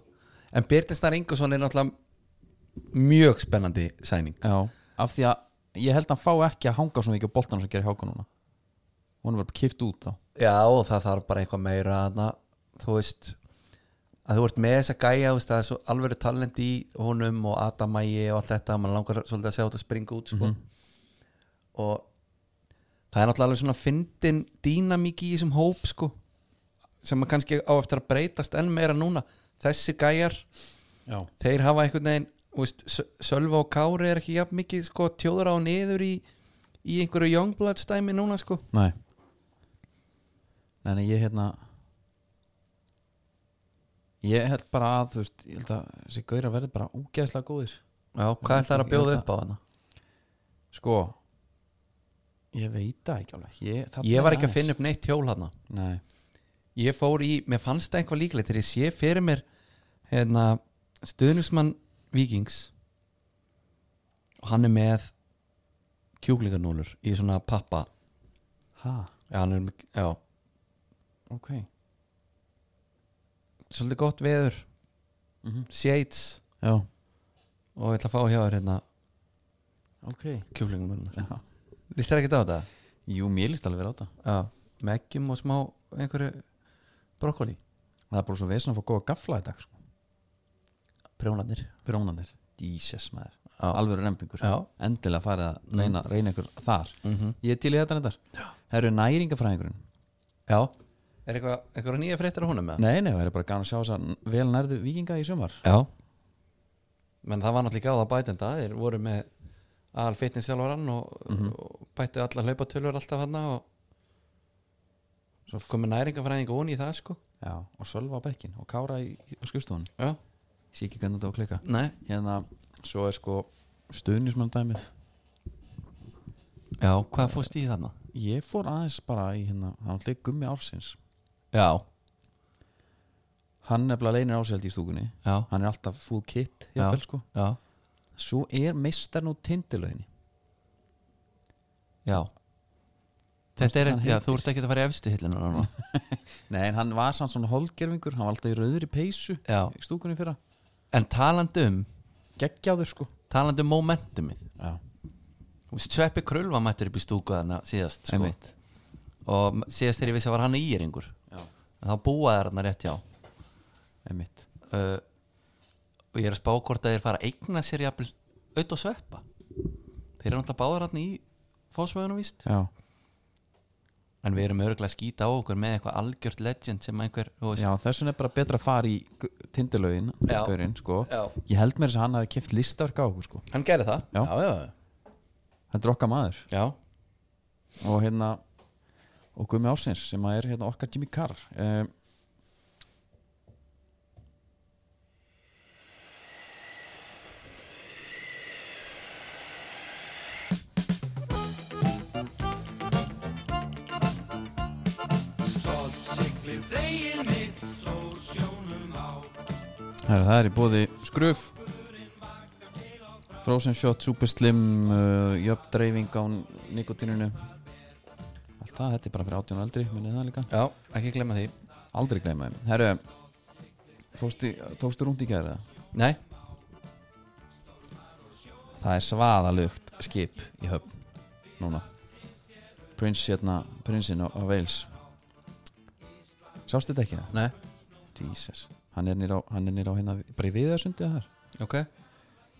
Speaker 2: En Birtistar Ingersson er náttúrulega mjög spennandi sæning
Speaker 1: Já, af því að ég held að hann fá ekki að hanga svona mikið á boltanum sem gerir háka núna hún var kipt út þá
Speaker 2: Já, og það þarf bara eitthvað meira þarna, Þú veist að þú ert með þessa gæja þú veist, það er svo alveg talent í honum og Adamægi og allt þetta, mann langar svolítið að sjá þetta springa út sko og það er náttúrulega alveg svona fyndin dýnamík í þessum hóp sko sem að kannski á eftir að breytast enn meira núna þessi gæjar
Speaker 1: Já,
Speaker 2: þeir hafa einhvern veginn þú veist, Sö- Sölva og Kári er ekki jafn mikið sko, tjóður á niður í, í einhverju Youngbloods dæmi núna sko.
Speaker 1: nei Nei, nei, ég hérna ég held bara að þú veist, ég held að þessi gauðra verði bara úgeðslega góðir
Speaker 2: Já, hvað ætlar að bjóða upp á hana?
Speaker 1: sko ég veit það ekki alveg ég, þarna
Speaker 2: Ég
Speaker 1: er
Speaker 2: var ekki að
Speaker 1: aðeins-
Speaker 2: finna upp neitt hjól hana
Speaker 1: Nei,
Speaker 2: Ég fór í, mér fannst það eitthvað líklegt þegar ég sé fyrir mér hérna, stuðningsmann Víkings og hann er með kjúklingarnúlur í svona pappa
Speaker 1: ha,
Speaker 2: já, hann er, með- já,
Speaker 1: ok Já,
Speaker 2: svolítið gott veður
Speaker 1: Mhm.
Speaker 2: shades og ég ætla að fá hjá þér hérna
Speaker 1: ok
Speaker 2: kjúklingarnúlur
Speaker 1: Já.
Speaker 2: Lýst þér ekkert á þetta?
Speaker 1: Jú, mér líst alveg vel á þetta
Speaker 2: Já, með eggjum og smá einhverju brokkoli
Speaker 1: Það er bara svo vesinn að fá góða gafla í dag sko.
Speaker 2: Prjónarnir
Speaker 1: Brónanir, Jesus maður
Speaker 2: Já,
Speaker 1: alvöru rempingur
Speaker 2: já
Speaker 1: endilega farið að reyna, reyna ykkur þar
Speaker 2: mm
Speaker 1: ég er til í þetta reyndar það eru næringafræðingurinn
Speaker 2: Já Er eitthvað, eitthvað nýja fréttir á honum með?
Speaker 1: nei, nei, það er bara gaman að sjá þess að vel nærðu vikinga í sumar
Speaker 2: Já Menn það var náttúrulega gáða bætenda Þeir voru með al fitness þjálfarann og, og bætti alla hlaupatölur alltaf hann og svo komið næringafræðing og hún í það sko
Speaker 1: já, og Sölva á bekkin og Kára í, í skrifstofunum
Speaker 2: Já,
Speaker 1: ég sé ekki hvernig þetta á að klika
Speaker 2: nei
Speaker 1: hérna, svo er sko stuðnismann dæmið
Speaker 2: Já, hvað fórst í þarna?
Speaker 1: ég fór aðeins bara í hérna hann leik gummi ársins
Speaker 2: Já,
Speaker 1: hann nefnilega leinir ásældi í stúkunni
Speaker 2: já,
Speaker 1: hann er alltaf full kit
Speaker 2: Já.
Speaker 1: jafnvel, sko.
Speaker 2: já,
Speaker 1: svo er meistarn úr tindilöginni
Speaker 2: já Þetta er,
Speaker 1: Hann
Speaker 2: já,
Speaker 1: heitir.
Speaker 2: þú ert ekki að fara í efstu hillinu núna
Speaker 1: nei en hann var samt svona holgerfingur hann var alltaf í rauðri peysu
Speaker 2: Já,
Speaker 1: í stúkunni fyrra
Speaker 2: en talandi um
Speaker 1: geggjáður sko
Speaker 2: talandi um momentumið
Speaker 1: já,
Speaker 2: Þú veist, Sveppi Krull var mættur upp í stúku þarna síðast sko.
Speaker 1: Einmitt.
Speaker 2: og síðast þegar ég vissi að var hann íringur
Speaker 1: Já.
Speaker 2: en þá búaði þarna rétt hjá
Speaker 1: einmitt
Speaker 2: uh, og ég er að spá hvort að þeir fara að eigna sér jafnvel auðvitað sveppa þeir eru náttúrulega báðar hann í fósvögunum víst
Speaker 1: já,
Speaker 2: en við erum örgulega að skýta á okkur með eitthvað algjört legend sem einhver þú veist-
Speaker 1: já þessun er bara betra að fara í tindilögin
Speaker 2: Já.
Speaker 1: gaurinn, sko.
Speaker 2: Já.
Speaker 1: ég held mér þess að hann hafi keft listaverk á okkur sko.
Speaker 2: hann gerði það
Speaker 1: Já.
Speaker 2: já, já,
Speaker 1: þetta er okkar maður
Speaker 2: já.
Speaker 1: og hérna og Gumi Ásins sem að er hérna okkar Jimmy Carr um, Herra, það er í bóði skruf Frozen Shot, Super Slim uh, Jöfn dreifing á nikotininu Allt það, þetta er bara fyrir 18 og eldri Minnið það líka,
Speaker 2: já, ekki glemma því
Speaker 1: aldrei gleyma þeim Herru, fórstu, tókstu rúnd í kæra
Speaker 2: nei,
Speaker 1: Það er svaðalugt skip í höfn Núna Prins hérna, prinsinn á, á Wales Sástu þetta ekki það?
Speaker 2: nei,
Speaker 1: Jesus Hann er nýr á, hann er nýr á hérna, bara í viðarsundi þar
Speaker 2: ok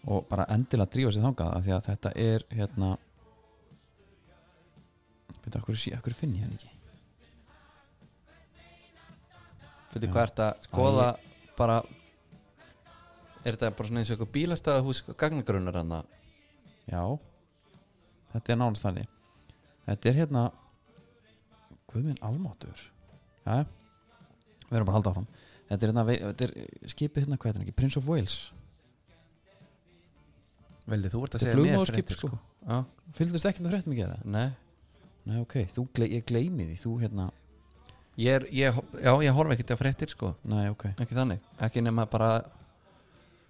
Speaker 1: og bara endilega drífa sér þangað af því að þetta er hérna veit að hverju, hverju finn ég hann ekki
Speaker 2: Fyrir hvað ert að skoða bara Er þetta bara svona eins og eitthvað bílastæða hús gagnagrunnar hann að
Speaker 1: já, þetta er nánast þannig þetta er hérna guðminn almátur já, við erum bara að halda áfram þetta er, hérna, vei- þetta er skipið hérna hvað er þetta ekki, Prince of Wales
Speaker 2: Veldi, þú ert að
Speaker 1: Þetta er
Speaker 2: segja mér
Speaker 1: flugmálaskip,
Speaker 2: fréttir,
Speaker 1: sko.
Speaker 2: Já,
Speaker 1: fylgðist ekki það fréttum ekki að það
Speaker 2: nei
Speaker 1: Nei, ok, þú, gle, ég gleymi því, þú hérna
Speaker 2: Ég er, ég, já, ég horf ekki til að fréttir sko
Speaker 1: Nei, ok,
Speaker 2: Ekki þannig, ekki nema bara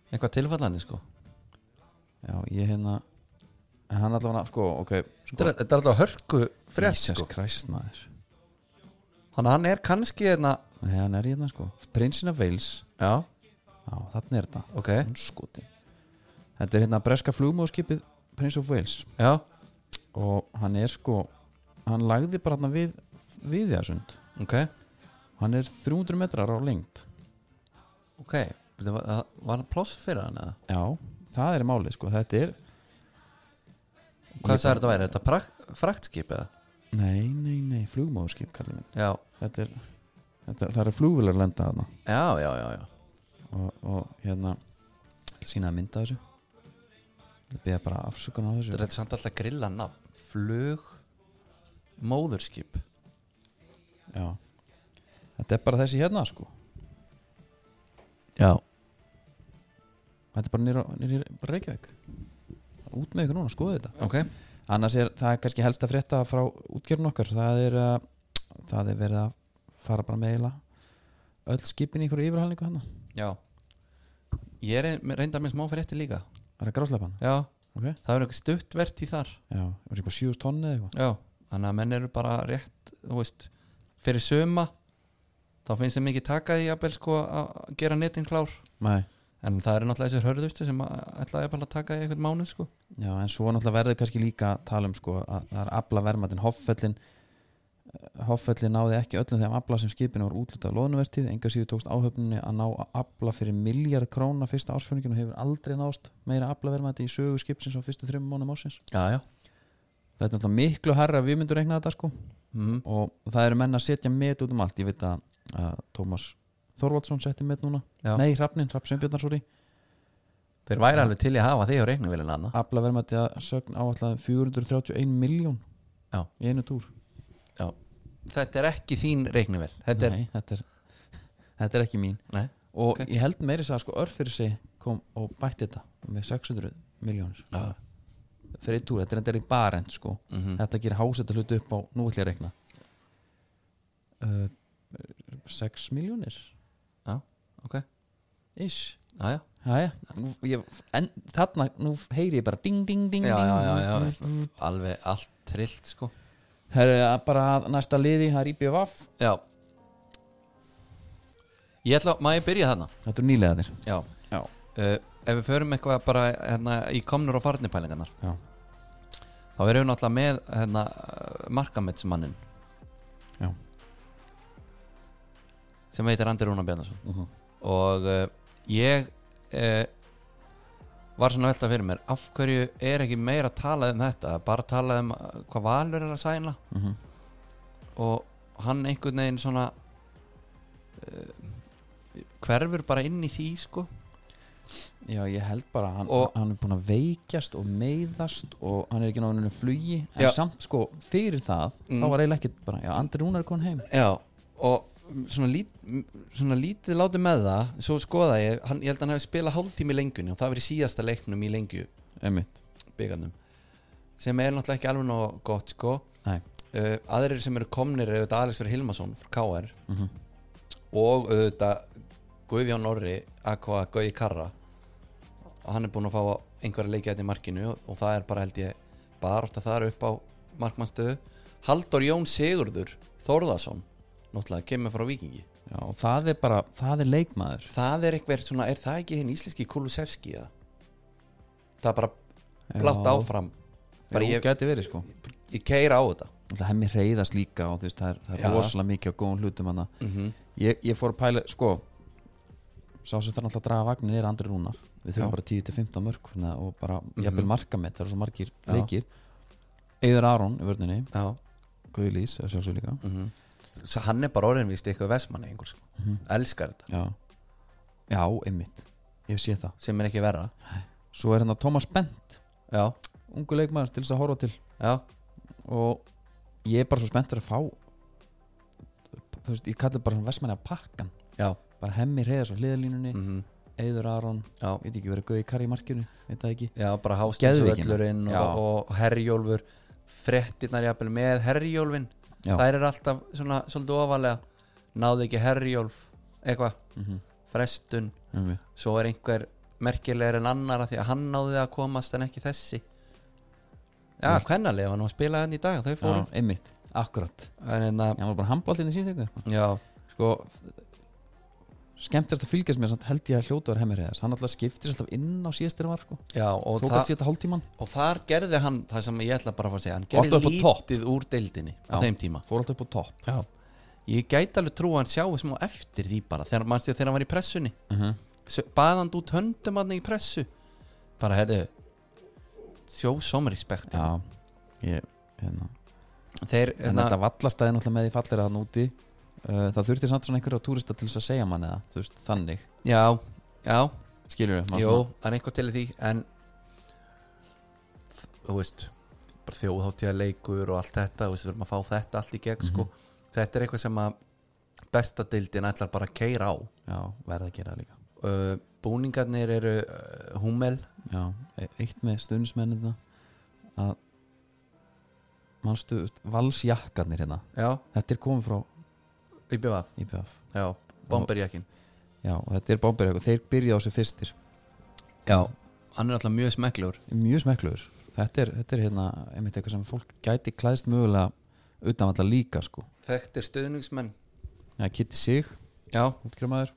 Speaker 2: Eitthvað tilfallandi sko
Speaker 1: já, ég hérna En hann allavega, sko, ok sko,
Speaker 2: Þetta er, þetta er alltaf hörku frétt
Speaker 1: Jesus
Speaker 2: sko
Speaker 1: Christ, maður
Speaker 2: Þannig að hann er kannski hérna
Speaker 1: Nei, hann er hérna sko Prinsin af Wales
Speaker 2: Já,
Speaker 1: Já, þarna er þetta
Speaker 2: ok,
Speaker 1: Andskoti. Þetta er hérna breska flugmóðskipið Prince of Wales
Speaker 2: já,
Speaker 1: og hann er sko hann lagði bara hérna við við þessund
Speaker 2: ok,
Speaker 1: hann er 300 metrar á lengt
Speaker 2: ok Bíddu, Var var það pláss fyrir hann eða?
Speaker 1: Já, það er málið sko þetta er
Speaker 2: Hvað sagði þetta væri, Er þetta prak- fraktskip eða?
Speaker 1: Nei, nei, nei, flugmóðskip kallið minn
Speaker 2: Já,
Speaker 1: Þetta er þetta, Það er flugvilar lenda þarna
Speaker 2: já, já, já, já.
Speaker 1: og, og hérna sína að mynda þessu Það beða bara afsökun á þessu
Speaker 2: Þetta er samt alltaf grilla nafn Flug Móðurskip
Speaker 1: Já Þetta er bara þessi hérna sko
Speaker 2: Já
Speaker 1: Þetta er bara nýra, nýra Reykjavík Út með ykkur núna, skoðu þetta
Speaker 2: Ok
Speaker 1: Annars er það er kannski helst að frétta frá útgerðun okkar Það er, uh, það er verið að fara bara með eila öll skipin í ykkur yfirhalningu hana
Speaker 2: Já Ég er ein- reynda með smá frétti líka
Speaker 1: Það er gráslepan
Speaker 2: Já
Speaker 1: Ok.
Speaker 2: Það er eitthvað stuttvert í þar
Speaker 1: Já, það er eitthvað 7 tonni eða
Speaker 2: Já Þannig að menn eru bara rétt Þú veist Fyrir söma Þá finnst þeim ekki taka því jafnvel sko að gera netin klár
Speaker 1: eitthvað Nei
Speaker 2: En það eru náttúrulega þessir hörðustu sem að- ætlaði jafnvel að taka í eitthvað mánuð sko
Speaker 1: Já, en svo náttúrulega verður kannski líka að tala um sko að það er afla vermatin Hoffellin Hoffellin náði ekki öllum þegar afla sem skipinu var útlutað loðnuvertíð, enga síður tókst áhöfninni að ná að afla fyrir miljard króna fyrsta ársfjörningin og hefur aldrei nást meira afla vermati í sögu skipsins á fyrstu þreymum mánum ásins.
Speaker 2: Já, já
Speaker 1: Þetta er náttúrulega miklu herra við myndum reikna þetta sko
Speaker 2: mm.
Speaker 1: og það eru menn að setja met út um allt ég veit að, að Tómas Þorvaldsson setti met núna,
Speaker 2: Já.
Speaker 1: nei Hrafnin, Hrafn Sveinbjörnar sorry,
Speaker 2: Þeir væri alveg til í að hafa því á reikningvélina hana
Speaker 1: afla vermati að sögn áallega 431 miljón
Speaker 2: Já.
Speaker 1: í einu túr
Speaker 2: Þetta er ekki þín reikningvél Þetta er
Speaker 1: Nei, þetta er, þetta er ekki mín
Speaker 2: Nei.
Speaker 1: og
Speaker 2: Ok.
Speaker 1: ég held meiri að sko örf fyrir sig kom og bætti þetta með 600 miljónir fyrir túr, þetta er endur í barend sko
Speaker 2: Mhm. Mm.
Speaker 1: þetta gerir hásetta hlutu upp á nú ætlum ég að rekna uh, 6 miljónir
Speaker 2: já, ok
Speaker 1: ish
Speaker 2: já, já,
Speaker 1: Jæja, nú, ég, en þarna nú heyri ég bara ding ding ding
Speaker 2: já,
Speaker 1: ding.
Speaker 2: já, já, já. alveg allt trillt sko
Speaker 1: Herru, að bara að næsta liði, það er IBVF
Speaker 2: já ég ætla, má ég byrja þarna
Speaker 1: Þetta eru nýlegaðir
Speaker 2: já,
Speaker 1: Já,
Speaker 2: uh, ef við förum eitthvað bara hérna, í komnur og farnipælingarnar
Speaker 1: já,
Speaker 2: þá erum við náttúrulega með hérna, eh, markametsmannin
Speaker 1: já.
Speaker 2: sem heitir Andi Rúnar Bjarnason
Speaker 1: Uh -huh.
Speaker 2: og uh, ég uh, var svona að velta fyrir mér af hverju er ekki meira talað um þetta bara talað um eh, hvað Valur er að sæna og hann einhvern veginn svona uh, hverfur bara inn í því sko
Speaker 1: já ég held bara að hann,
Speaker 2: Og-
Speaker 1: hann er búin að veikjast og meiðast og hann er ekki náðuninu flugi en
Speaker 2: Já.
Speaker 1: samt sko, fyrir það
Speaker 2: Mm.
Speaker 1: þá var eiginlega ekkert bara, já, Andri Rúnar er komin heim
Speaker 2: Já, og svona, lít, svona lítið látið með það svo skoða ég, hann, ég held að hann hefði spilað hálftími í lengjunni og það verið síðasta leiknum í lengju
Speaker 1: Einmitt
Speaker 2: byggarnum sem er náttúrulega ekki alveg nóg gott sko
Speaker 1: Nei,
Speaker 2: uh, aðrir sem eru komnir er auðvitað Alex fyrir Hilmason frá KR
Speaker 1: mm
Speaker 2: og auðvitað Guðjón Orri Aqua Gauji Karra og hann er búinn að fá einhverja leikið þetta í markinu og, og það er bara held ég bara ofta þar upp á markmannstöðu Haldur Jón Sigurður Þórðarsson náttúrulega kemur frá Vikingi
Speaker 1: já, og það er bara, það er leikmaður
Speaker 2: það er eitthvað svona, er það ekki hinn íslenski Kulusevski eða? það er bara blátt
Speaker 1: Já.
Speaker 2: áfram bara
Speaker 1: Jú,
Speaker 2: ég-
Speaker 1: gæti verið sko
Speaker 2: ég keira á þetta
Speaker 1: Það hemmi reyðast líka og þú veist, það er, það
Speaker 2: Já.
Speaker 1: er rosalega mikið á góðum hlutum hann
Speaker 2: mm -hmm.
Speaker 1: ég, ég fór að pæla, sko sá sem þarf náttúrulega að draga vagnin er andri rúnar við
Speaker 2: Já. Mhm.
Speaker 1: þurfum bara 10-15 mörg hana, og bara jafnvel marka með, það eru svo margir
Speaker 2: Já.
Speaker 1: leikir Eður Aron í vörninni
Speaker 2: já
Speaker 1: Guði Lís, að sjálfsög líka
Speaker 2: mm hann er bara orðinvist eitthvað vesmanni einhver sko,
Speaker 1: Mhm.
Speaker 2: elskar þetta
Speaker 1: já, já, einmitt ég sé það,
Speaker 2: sem er ekki verra
Speaker 1: svo er hérna Thomas Bent
Speaker 2: já,
Speaker 1: ungu leikmaður til þess að horfa til
Speaker 2: já,
Speaker 1: og ég er bara svo spenntur að fá þú veist, ég kallar bara vestmanni að pakkan
Speaker 2: já,
Speaker 1: bara hemmi reyðast á hliðalínunni
Speaker 2: mm
Speaker 1: Eður Aron,
Speaker 2: já,
Speaker 1: veit ekki verið Guði Kari í markjunni, veit það ekki
Speaker 2: já bara
Speaker 1: Geðveikina.
Speaker 2: hástinsvöllurinn
Speaker 1: Já.
Speaker 2: og, og herjólfur frettirnar jafnvel með herjólfin
Speaker 1: Já.
Speaker 2: þær er alltaf svona svolítið ofalega náðu ekki herjólf eitthvað,
Speaker 1: Mhm.
Speaker 2: frestun
Speaker 1: Einmitt.
Speaker 2: svo er einhver merkilegur en annar af því að hann náði að komast en ekki þessi já, hvernarlega var nú að spila hann í dag þau
Speaker 1: Já,
Speaker 2: fóru
Speaker 1: einmitt, akkurat
Speaker 2: en einna,
Speaker 1: Ég var bara handbóltinn í síðtöku
Speaker 2: já,
Speaker 1: Sko Skemmtast að fylgjast með samt held ég að hljóta var hemmir heiðast Hann alltaf skiptist alltaf inn á síðastir var sko
Speaker 2: já og,
Speaker 1: Tók
Speaker 2: þa
Speaker 1: að síðasta hálftíman
Speaker 2: og þar gerði hann það sem ég ætla bara að fara að segja hann
Speaker 1: Alltaf
Speaker 2: gerði
Speaker 1: upp á topp.
Speaker 2: lítið úr deildinni á
Speaker 1: Já.
Speaker 2: þeim tíma
Speaker 1: Fór alltaf upp á topp
Speaker 2: já. ég gæti alveg trú að hann sjáu smá eftir því bara þegar, manstu, þegar hann var í pressunni
Speaker 1: uh -huh.
Speaker 2: baðand út höndum hann í pressu bara herðu sjó som respekt
Speaker 1: Já ég, hérna.
Speaker 2: þeir,
Speaker 1: En
Speaker 2: hérna,
Speaker 1: þetta vallastæði náttúrulega með því fallir að hann úti uh, Það þurfti samt svona einhverja túrista til þess að segja manni það Þú veist, þannig
Speaker 2: já, já
Speaker 1: Skilur við
Speaker 2: Jú, það er eitthvað til í því en þú veist bara þjóðháttíða leikur og allt þetta þú veist, við erum að fá þetta allt í gegn
Speaker 1: Mhm.
Speaker 2: sko. þetta er eitthvað sem að besta deildin ætlar bara að keira á
Speaker 1: Já, verða að gera það líka
Speaker 2: uh, búningarnir eru uh, húmel
Speaker 1: Já, e- eitt með stundismennina Að Manstu, þú veist, valsjakkarnir hérna
Speaker 2: já,
Speaker 1: Þetta er komið frá
Speaker 2: YBVF,
Speaker 1: IPF
Speaker 2: já, bomberjakkin
Speaker 1: E Já, og þetta er bomberið og þeir byrja á þessu fyrstir
Speaker 2: já, hann er alltaf mjög smeklur
Speaker 1: Mjög smekkluður þetta er, þetta er hérna, einmitt eitthvað sem fólk gæti klæðst mögulega utanvallar líka sko
Speaker 2: þekktir stuðningsmenn
Speaker 1: Já, Kitty Sig,
Speaker 2: já,
Speaker 1: útgrimaður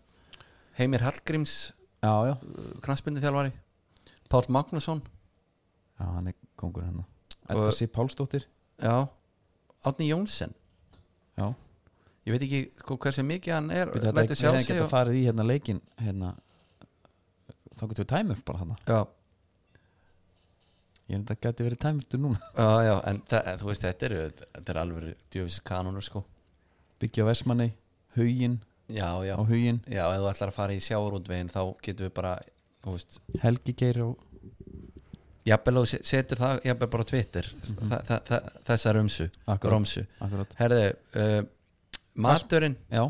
Speaker 2: Heimir Hallgríms
Speaker 1: Já, já
Speaker 2: knassbindi þjálfari Páll Magnússon
Speaker 1: Já, hann er kongur hérna
Speaker 2: Og-
Speaker 1: Edda Sip Pálsdóttir
Speaker 2: já, Átni Jónsson
Speaker 1: Já,
Speaker 2: ég veit ekki sko, hversu mikið hann er
Speaker 1: Byrju, þetta
Speaker 2: lætur
Speaker 1: er
Speaker 2: sjá
Speaker 1: hérna
Speaker 2: sig
Speaker 1: geta
Speaker 2: og,
Speaker 1: farið í hérna leikin hérna þá getur við tæmur bara hann
Speaker 2: já,
Speaker 1: Ég er þetta gæti verið tæmurtur núna
Speaker 2: já, já, en það, þú veist þetta er, þetta er alveg djöfis kanonur sko
Speaker 1: Byggja á Vestmanni, Hugin
Speaker 2: já, já,
Speaker 1: á Hugin,
Speaker 2: já, ef þú ætlar að fara í sjáurúndvegin þá getum við bara, þú veist
Speaker 1: Helgi Geir og
Speaker 2: jafnvel og setur það, jafnvel bara á Twitter þa, þa, þa, þessa römsu
Speaker 1: Akkurat.
Speaker 2: romsu,
Speaker 1: Akkurat
Speaker 2: herðu uh, maturinn,
Speaker 1: Já,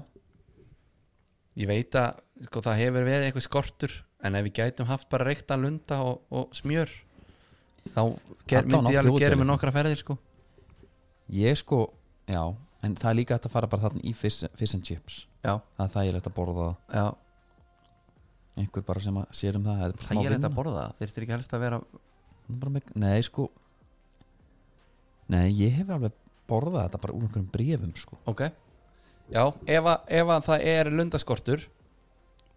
Speaker 2: ég veit að sko, það hefur verið eitthvað skortur en ef við gætum haft bara reykta lunda og, og smjör þá ger,
Speaker 1: Allan á
Speaker 2: myndi ég alveg gera
Speaker 1: þjóðtölum.
Speaker 2: með nokkra ferðir sko
Speaker 1: Ég sko, já En það er líka hægt að fara bara þarna í fish, fish and chips
Speaker 2: já,
Speaker 1: Það er þægilegt að borða það
Speaker 2: já,
Speaker 1: Einhver bara sem að sér um það Það er bara smá
Speaker 2: það er þetta
Speaker 1: vinna.
Speaker 2: að borða það þurftir ekki helst að vera
Speaker 1: Það er bara með- Nei sko Nei, ég hef alveg borðað þetta bara úr einhverjum bréfum sko
Speaker 2: ok, já, ef að, ef að það er lundaskortur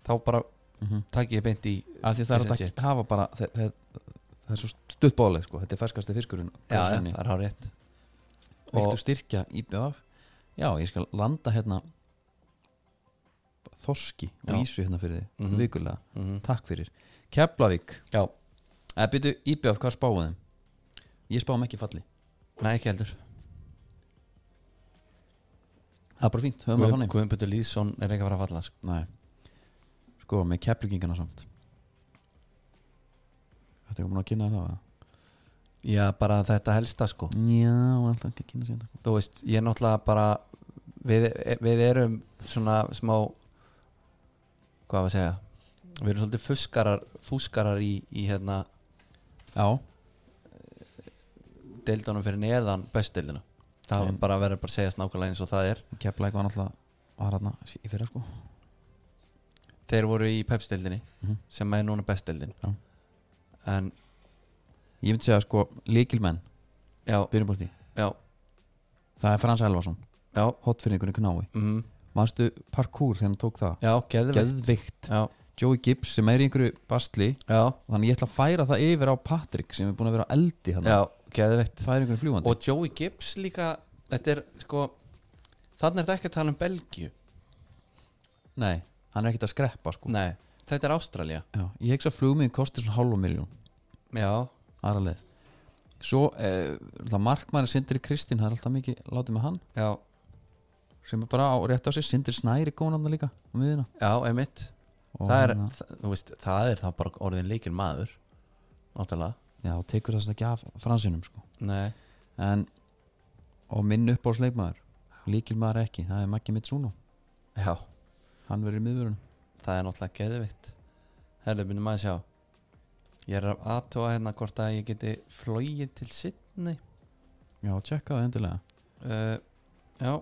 Speaker 2: þá bara
Speaker 1: mm -hmm.
Speaker 2: takk ég beint í
Speaker 1: Af því það er
Speaker 2: Mhm. fish and
Speaker 1: hægt
Speaker 2: chips.
Speaker 1: að hafa bara Það, það, það er svo stutt bóðleg sko Þetta er ferskasti fiskurinn
Speaker 2: já, já,
Speaker 1: Hvernig?
Speaker 2: það er á rétt
Speaker 1: Viltu
Speaker 2: Og-
Speaker 1: styrkja IBF? Já, ég skal landa hérna Þorski og
Speaker 2: Já.
Speaker 1: Ísu hérna fyrir þig
Speaker 2: Mhm.
Speaker 1: vikulega,
Speaker 2: mm
Speaker 1: takk fyrir Keflavík,
Speaker 2: já,
Speaker 1: eða byrju IBF Eh, hvað spáðu þeim? Ég spáðum ekki falli
Speaker 2: nei ekki heldur
Speaker 1: Það er bara fínt, höfum við
Speaker 2: Guðum-
Speaker 1: þannig
Speaker 2: Guðmundur Lýðsson er ekki að fara að falla sko.
Speaker 1: Nei. Sko, með keflvíkingana samt Þetta er komin að kynna þér það eða?
Speaker 2: já, bara þetta helsta sko
Speaker 1: Já, hún er alltaf ekki að kynna hérna, sko. sér þetta
Speaker 2: þú veist, ég náttúrulega bara við, við erum svona smá hvað var að segja við erum svolítið fuskarar, fuskarar í, í hérna
Speaker 1: Já,
Speaker 2: deildunum fyrir neðan bestdeildina það
Speaker 1: Nei.
Speaker 2: Nei. bara verður bara að segja snákulega eins og það er
Speaker 1: keflavík var náttúrulega var hérna í fyrra sko
Speaker 2: þeir voru í pepsdeildinni
Speaker 1: Mhm.
Speaker 2: sem er núna bestdeildin
Speaker 1: Já.
Speaker 2: en
Speaker 1: Ég myndi segja sko, líkilmenn,
Speaker 2: já,
Speaker 1: byrjum bara á því
Speaker 2: já,
Speaker 1: Það er Frans Elvarsson,
Speaker 2: já
Speaker 1: hotfinningunni knái
Speaker 2: mm,
Speaker 1: Manstu parkour þegar hann tók það
Speaker 2: já, geðveikt
Speaker 1: Geðvikt
Speaker 2: já,
Speaker 1: Joey Gibbs sem er í einhverju bastli
Speaker 2: já,
Speaker 1: Þannig ég ætla að færa það yfir á Patrick sem er búin að vera á eldi hann
Speaker 2: já, geðveikt
Speaker 1: Það er einhverju fljúandi
Speaker 2: og Joey Gibbs líka þetta er sko þannig er þetta ekki að tala um Belgíu
Speaker 1: Nei, hann er ekkert að skreppa sko
Speaker 2: Nei, þetta er Ástralja
Speaker 1: Já, Ég hegsa að flugmiðin kosti svona hálfa miljón
Speaker 2: Já,
Speaker 1: aðra leið Svo eh, markmann er Sindri Kristinn Það er alltaf mikið látið með hann
Speaker 2: já,
Speaker 1: sem er bara á rétt á sig Sindri Snæri góðan hann líka á miðina
Speaker 2: já, einmitt
Speaker 1: Og hérna?
Speaker 2: það er,
Speaker 1: hann-
Speaker 2: það, þú veist, það er þá bara orðin leikil maður Náttúrulega
Speaker 1: Já, og tekur þess ekki af fransinum sko
Speaker 2: Nei,
Speaker 1: En Og minn upp á sleikmaður Líkilmaður ekki, það er Maggi Mitsuno
Speaker 2: já,
Speaker 1: Hann verður í miðvörun
Speaker 2: það er náttúrulega geðvitt Herðu, byrjum að sjá Ég er að aðtóa hérna hvort að ég geti flogið til Sydney
Speaker 1: Já, tjekka það endilega
Speaker 2: uh, Já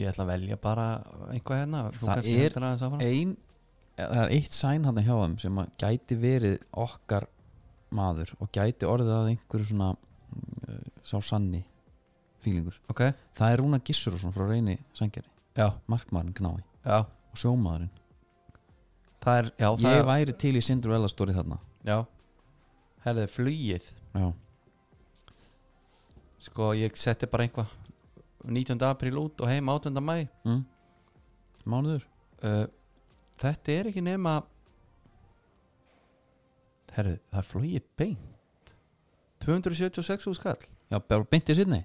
Speaker 2: Ég ætla að velja bara einhvað hérna Þú
Speaker 1: Það
Speaker 2: kannski
Speaker 1: er- e-
Speaker 2: heldur aðeins áfram.
Speaker 1: Ein, eða það er eitt sæn hann hjá þeim sem að gæti verið okkar maður og gæti orðið að einhverju svona uh, sá sanni fílingur
Speaker 2: Ok,
Speaker 1: það er Rúna Gissurusson frá reyni sengeri
Speaker 2: já,
Speaker 1: markmaðurinn knái
Speaker 2: já
Speaker 1: og sjómaðurinn
Speaker 2: Það er, já, það
Speaker 1: ég
Speaker 2: er
Speaker 1: væri til í Cinderella story þarna
Speaker 2: Já, herðu, flugið
Speaker 1: já,
Speaker 2: Sko ég setti bara einhvað 19. apríl út og heim 18. mæ
Speaker 1: mm. mánuður
Speaker 2: uh, Þetta er ekki nema Herru, það flóið beint 276 úr skall
Speaker 1: já, bara beintið sinni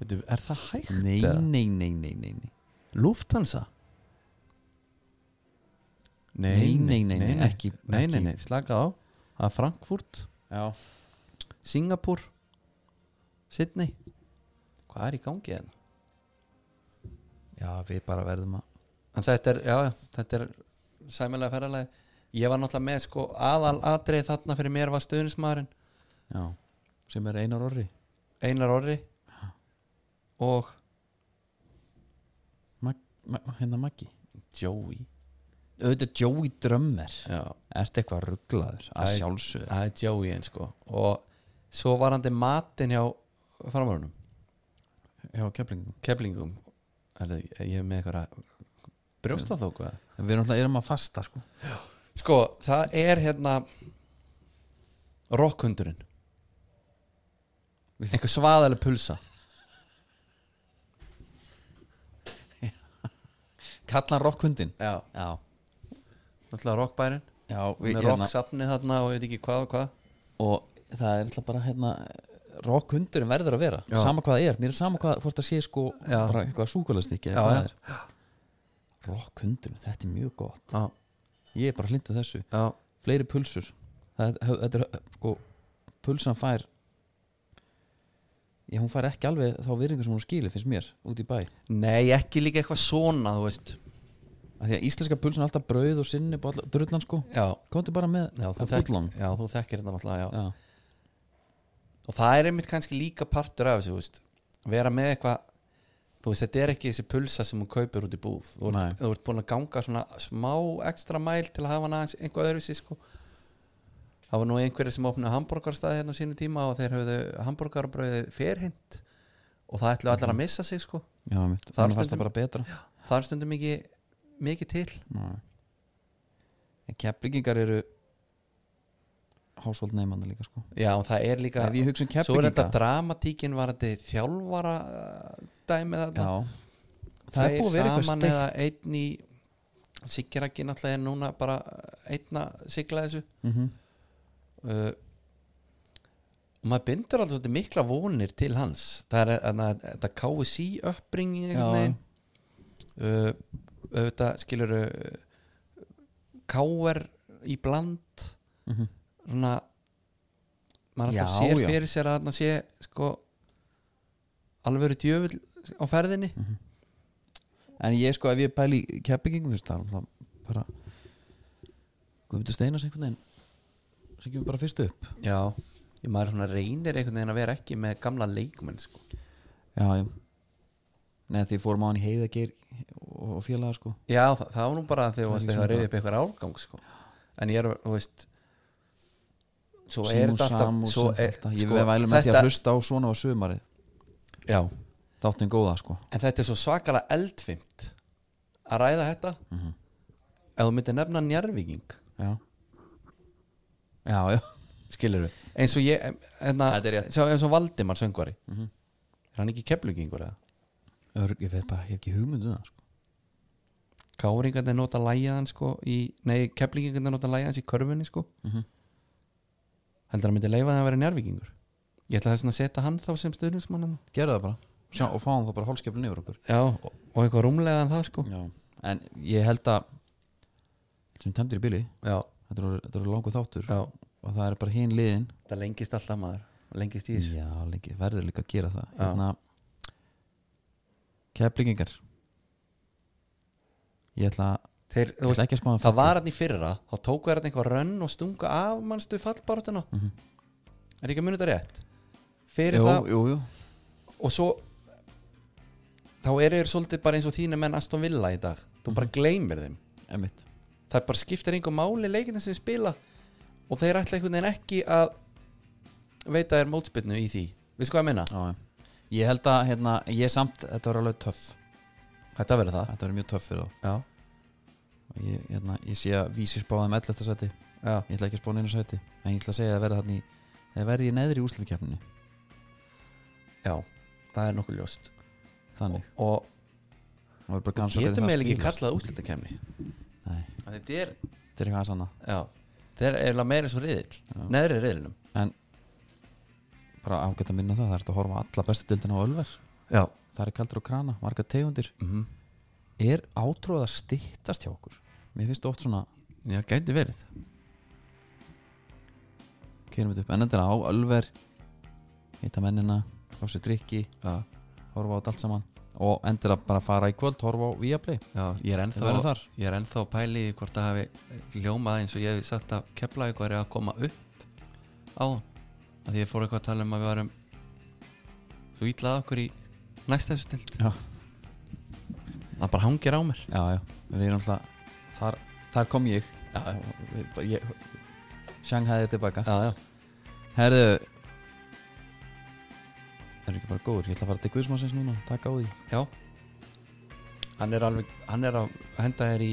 Speaker 2: Veitu, Er það hægt?
Speaker 1: nei,
Speaker 2: eða?
Speaker 1: nei, nei, nei, nei, nei.
Speaker 2: Lufthansa?
Speaker 1: Nei, nei, nei, nei, ekki-
Speaker 2: nei, nei,
Speaker 1: ekki.
Speaker 2: nei, slakað á Það er Frankfurt,
Speaker 1: já,
Speaker 2: Singapur Sydney Hvað er í gangi hérna?
Speaker 1: já, við bara verðum að
Speaker 2: En þetta er, já, já, þetta er sæmilega ferðalagi Ég var náttúrulega með sko aðal atrið þarna fyrir mér var stuðnismæðurinn
Speaker 1: já, sem er Einar Orri
Speaker 2: Einar Orri og
Speaker 1: Mag, ma, hérna Maggi
Speaker 2: Joey
Speaker 1: auðvitað Joey Drömmer
Speaker 2: Já,
Speaker 1: ertu eitthvað rugglaður að
Speaker 2: Æ.
Speaker 1: sjálfsögðu
Speaker 2: það er Joey einn sko og svo var hann til matinn hjá framörunum,
Speaker 1: já, keflingum
Speaker 2: keflingum Erðu, ég er með eitthvað brjósta þó hvað
Speaker 1: við erum alltaf erum að fasta sko
Speaker 2: Sko, það er hérna rockhundurinn einhver svaðaleg pulsa
Speaker 1: kalla hann rockhundin
Speaker 2: Já,
Speaker 1: já,
Speaker 2: náttúrulega rockbærin
Speaker 1: já við,
Speaker 2: með
Speaker 1: hérna,
Speaker 2: rocksafnið þarna og ég veit ekki hvað og hvað
Speaker 1: og það er alltaf bara hérna rockhundurinn verður að vera
Speaker 2: Já.
Speaker 1: sama hvað það er, mér er sama hvað hvort það sé sko
Speaker 2: Já.
Speaker 1: bara eitthvað súkulastikki
Speaker 2: Já, já.
Speaker 1: rockhundurinn, þetta er mjög gott
Speaker 2: Já,
Speaker 1: ég er bara hlindu þessu,
Speaker 2: já,
Speaker 1: fleiri pulsur það, er- þetta er sko pulsan fær já, hún fær ekki alveg þá virðingu sem hún skilir, finnst mér, út í bæ
Speaker 2: Nei, ekki líka eitthvað svona, þú veist
Speaker 1: að því að íslenska pulsun er alltaf brauð og sinni og alltaf drullan sko
Speaker 2: Já,
Speaker 1: komdu bara með
Speaker 2: já, þú,
Speaker 1: fullan
Speaker 2: já, þú þekkir þetta náttúrulega já.
Speaker 1: já.
Speaker 2: og það er einmitt kannski líka partur af þessu þú veist. vera með eitthvað þú veist, þetta er ekki þessi pulsa sem hún kaupir út í búð þú
Speaker 1: Nei.
Speaker 2: ert, þú ert búin að ganga svona smá ekstra mæl til að hafa hann aðeins einhvað öðru sér sko það var nú einhverjir sem opnaði hambúrgarstað hérna á sínu tíma og þeir höfðu hambúrgarbröði ferhint og það ætlu allar að missa sig sko
Speaker 1: já, mitt,
Speaker 2: Þar
Speaker 1: þannig fannst það
Speaker 2: stundum-
Speaker 1: bara betra
Speaker 2: það er stundum ekki mikið til
Speaker 1: Nei. en keflingingar eru hásvöld neymanda líka sko
Speaker 2: já og það er líka
Speaker 1: ef ég hugsa um
Speaker 2: svo er þetta
Speaker 1: keflinginga
Speaker 2: dramatíkin var þetta þjálfara uh, dæmið þarna
Speaker 1: já, það er
Speaker 2: Tveir
Speaker 1: búið að vera eitthvað
Speaker 2: saman
Speaker 1: steikt
Speaker 2: eða einn í Siggeraki náttúrulega er núna bara einn að sigla þessu
Speaker 1: mm
Speaker 2: uh, og maður bindur alltaf svolítið mikla vonir til hans það er þarna- þetta KSI uppbringi
Speaker 1: Já.
Speaker 2: uh, auðvitað skilur uh, KR í bland
Speaker 1: Mhm.
Speaker 2: svona maður alltaf
Speaker 1: Já,
Speaker 2: sér
Speaker 1: já.
Speaker 2: fyrir sér að þarna sé sko alveg verið djöfull á ferðinni
Speaker 1: Mhm. en ég sko ef ég pæli keppingum þú veist það er það bara Guðmundur Steinas einhvern veginn sem kemur bara fyrst upp
Speaker 2: Já, ég maður svona reynir einhvern veginn að vera ekki með gamla leikmenn sko.
Speaker 1: já, já neða því fórum á hann í heiðageir og, og félaga sko
Speaker 2: Já, það, það var nú bara þegar þú
Speaker 1: Það er
Speaker 2: varst
Speaker 1: ekki
Speaker 2: eitthvað að
Speaker 1: svona
Speaker 2: reyða upp eitthvað árgang sko. En ég er, þú veist Svo er
Speaker 1: Simon
Speaker 2: þetta alltaf
Speaker 1: Samus
Speaker 2: svo er,
Speaker 1: alltaf. ég sko, vælum með því að hlusta á svona á sumari
Speaker 2: Já,
Speaker 1: þáttum góða sko
Speaker 2: en þetta er svo svakalega eldfimt að ræða þetta
Speaker 1: Mhm.
Speaker 2: ef þú myndir nefna njárvíking
Speaker 1: já já, já,
Speaker 2: skilur við eins og ég, enna,
Speaker 1: Þetta er rétt. Mhm.
Speaker 2: eins og Valdimar söngvari er hann ekki keflugingur eða?
Speaker 1: Örg, ég veit bara, ég hef ekki hugmyndu það sko.
Speaker 2: Káringarnir nota lægjaðan sko í, nei, keflingarnir nota lægjaðan í körfunni sko
Speaker 1: Mhm.
Speaker 2: heldur hann myndi leifa það að vera njárvíkingur ég ætla þess vegna að setja hann þá sem hérna. stöðnismann
Speaker 1: gerðu það bara, Sjá, og fáum það bara hálskeflin yfir okkur
Speaker 2: já, og, og eitthvað rúmlegaðan það sko
Speaker 1: já. en ég held að sem temtir í bili,
Speaker 2: já,
Speaker 1: þetta eru- þetta eru langu þáttur
Speaker 2: já,
Speaker 1: og það er bara hinn liðin
Speaker 2: það lengist alltaf maður lengist í þessu
Speaker 1: já, lengi, verður líka að gera það
Speaker 2: Já.
Speaker 1: hérna, keflingingar ég ætla,
Speaker 2: Þeir,
Speaker 1: ég
Speaker 2: þú veist,
Speaker 1: ætla ekki að spá um að
Speaker 2: það var hann í fyrra þá tóku þær hann eitthvað rönn og stunga af mannstu fallbarátuna
Speaker 1: Mhm.
Speaker 2: er ekki að muni þetta rétt fyrir
Speaker 1: jú,
Speaker 2: það
Speaker 1: jú, jú.
Speaker 2: og svo þá er þeir svolítið bara eins og þínu menn Aston Villa í dag þú
Speaker 1: Mhm.
Speaker 2: bara gleymir þeim
Speaker 1: Einmitt.
Speaker 2: það bara skiptir einhver máli leikina sem við spila og þeir ætla einhvern veginn ekki að veita þér mótspilnu í því við sko að minna,
Speaker 1: Já, já. ég held að hérna, ég samt, þetta var alveg töff
Speaker 2: þetta verður það
Speaker 1: þetta var mjög töff fyrir þá
Speaker 2: já,
Speaker 1: Og ég, hérna, ég sé að vísi spáðum 11. sæti
Speaker 2: já,
Speaker 1: ég ætla ekki að spá neina sæti en ég ætla að segja að verða þarna í þeir verði í neðri úsliðkeppninni
Speaker 2: já það er nokkuð ljóst
Speaker 1: þannig
Speaker 2: og
Speaker 1: og er bara gans að
Speaker 2: getum
Speaker 1: hvernig
Speaker 2: eiginlega ekki
Speaker 1: það
Speaker 2: kallað útslutakemni
Speaker 1: spilast. Nei,
Speaker 2: þetta er,
Speaker 1: þetta er eitthvað sanna
Speaker 2: já þetta er eiginlega meira svo riðil, neðri riðilnum
Speaker 1: bara ágætt að minna það, það er þetta að horfa á alla bestu dildina á Ölver
Speaker 2: já,
Speaker 1: það er kaldur og krana, marga tegundir
Speaker 2: mm
Speaker 1: er átróð að stittast hjá okkur mér finnst oft svona
Speaker 2: já, gæti verið
Speaker 1: kynum við upp en þetta er á Ölver hitta mennina, fá sér drikki
Speaker 2: já,
Speaker 1: horfa á þetta allt saman og endur að bara fara í kvöld, horfa á Viaplay
Speaker 2: já, ég
Speaker 1: það
Speaker 2: er
Speaker 1: verður
Speaker 2: ennþá
Speaker 1: þar
Speaker 2: ég er ennþá að pæli í hvort það hafi ljómað eins og ég hef sagt að kepla eitthvað er að koma upp á að því ég fór eitthvað að tala um að við varum svo ítlað okkur í næsta þessu stilt
Speaker 1: Já.
Speaker 2: það bara hangir á mér
Speaker 1: já, já, við erum alltaf þar, þar kom ég
Speaker 2: já,
Speaker 1: Og við- bara ég- Shanghai er tilbaka
Speaker 2: já, já,
Speaker 1: Herðu Það er ekki bara góður Ég ætla að fara til Guðsmannsins núna Takk á því
Speaker 2: já. hann er alveg hann er að henda þér í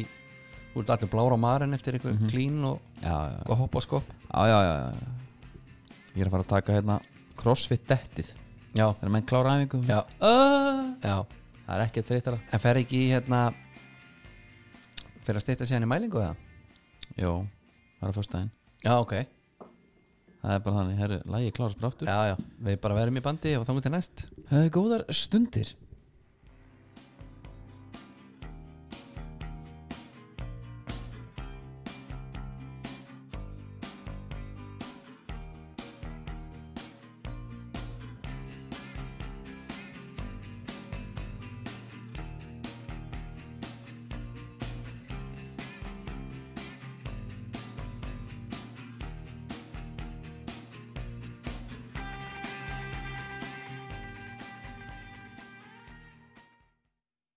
Speaker 2: úr allir blára marinn eftir eitthvað
Speaker 1: Mhm.
Speaker 2: klín og,
Speaker 1: Já, já,
Speaker 2: og hoppa og skop
Speaker 1: já, já, já, já. Ég er að fara að taka hérna Crossfit dettið
Speaker 2: já,
Speaker 1: Þegar menn klára æfingu
Speaker 2: já,
Speaker 1: Ah,
Speaker 2: já
Speaker 1: Það er ekki þreytara
Speaker 2: en fer ekki í hérna fer að steytta sér hann í mælingu eða?
Speaker 1: Jó, það er að fyrstæðin
Speaker 2: já, ok
Speaker 1: Það er bara þannig, herru, lægi klárast bara aftur
Speaker 2: Já, já, við bara verðum í bandi og þá mútið næst
Speaker 1: Það er góðar stundir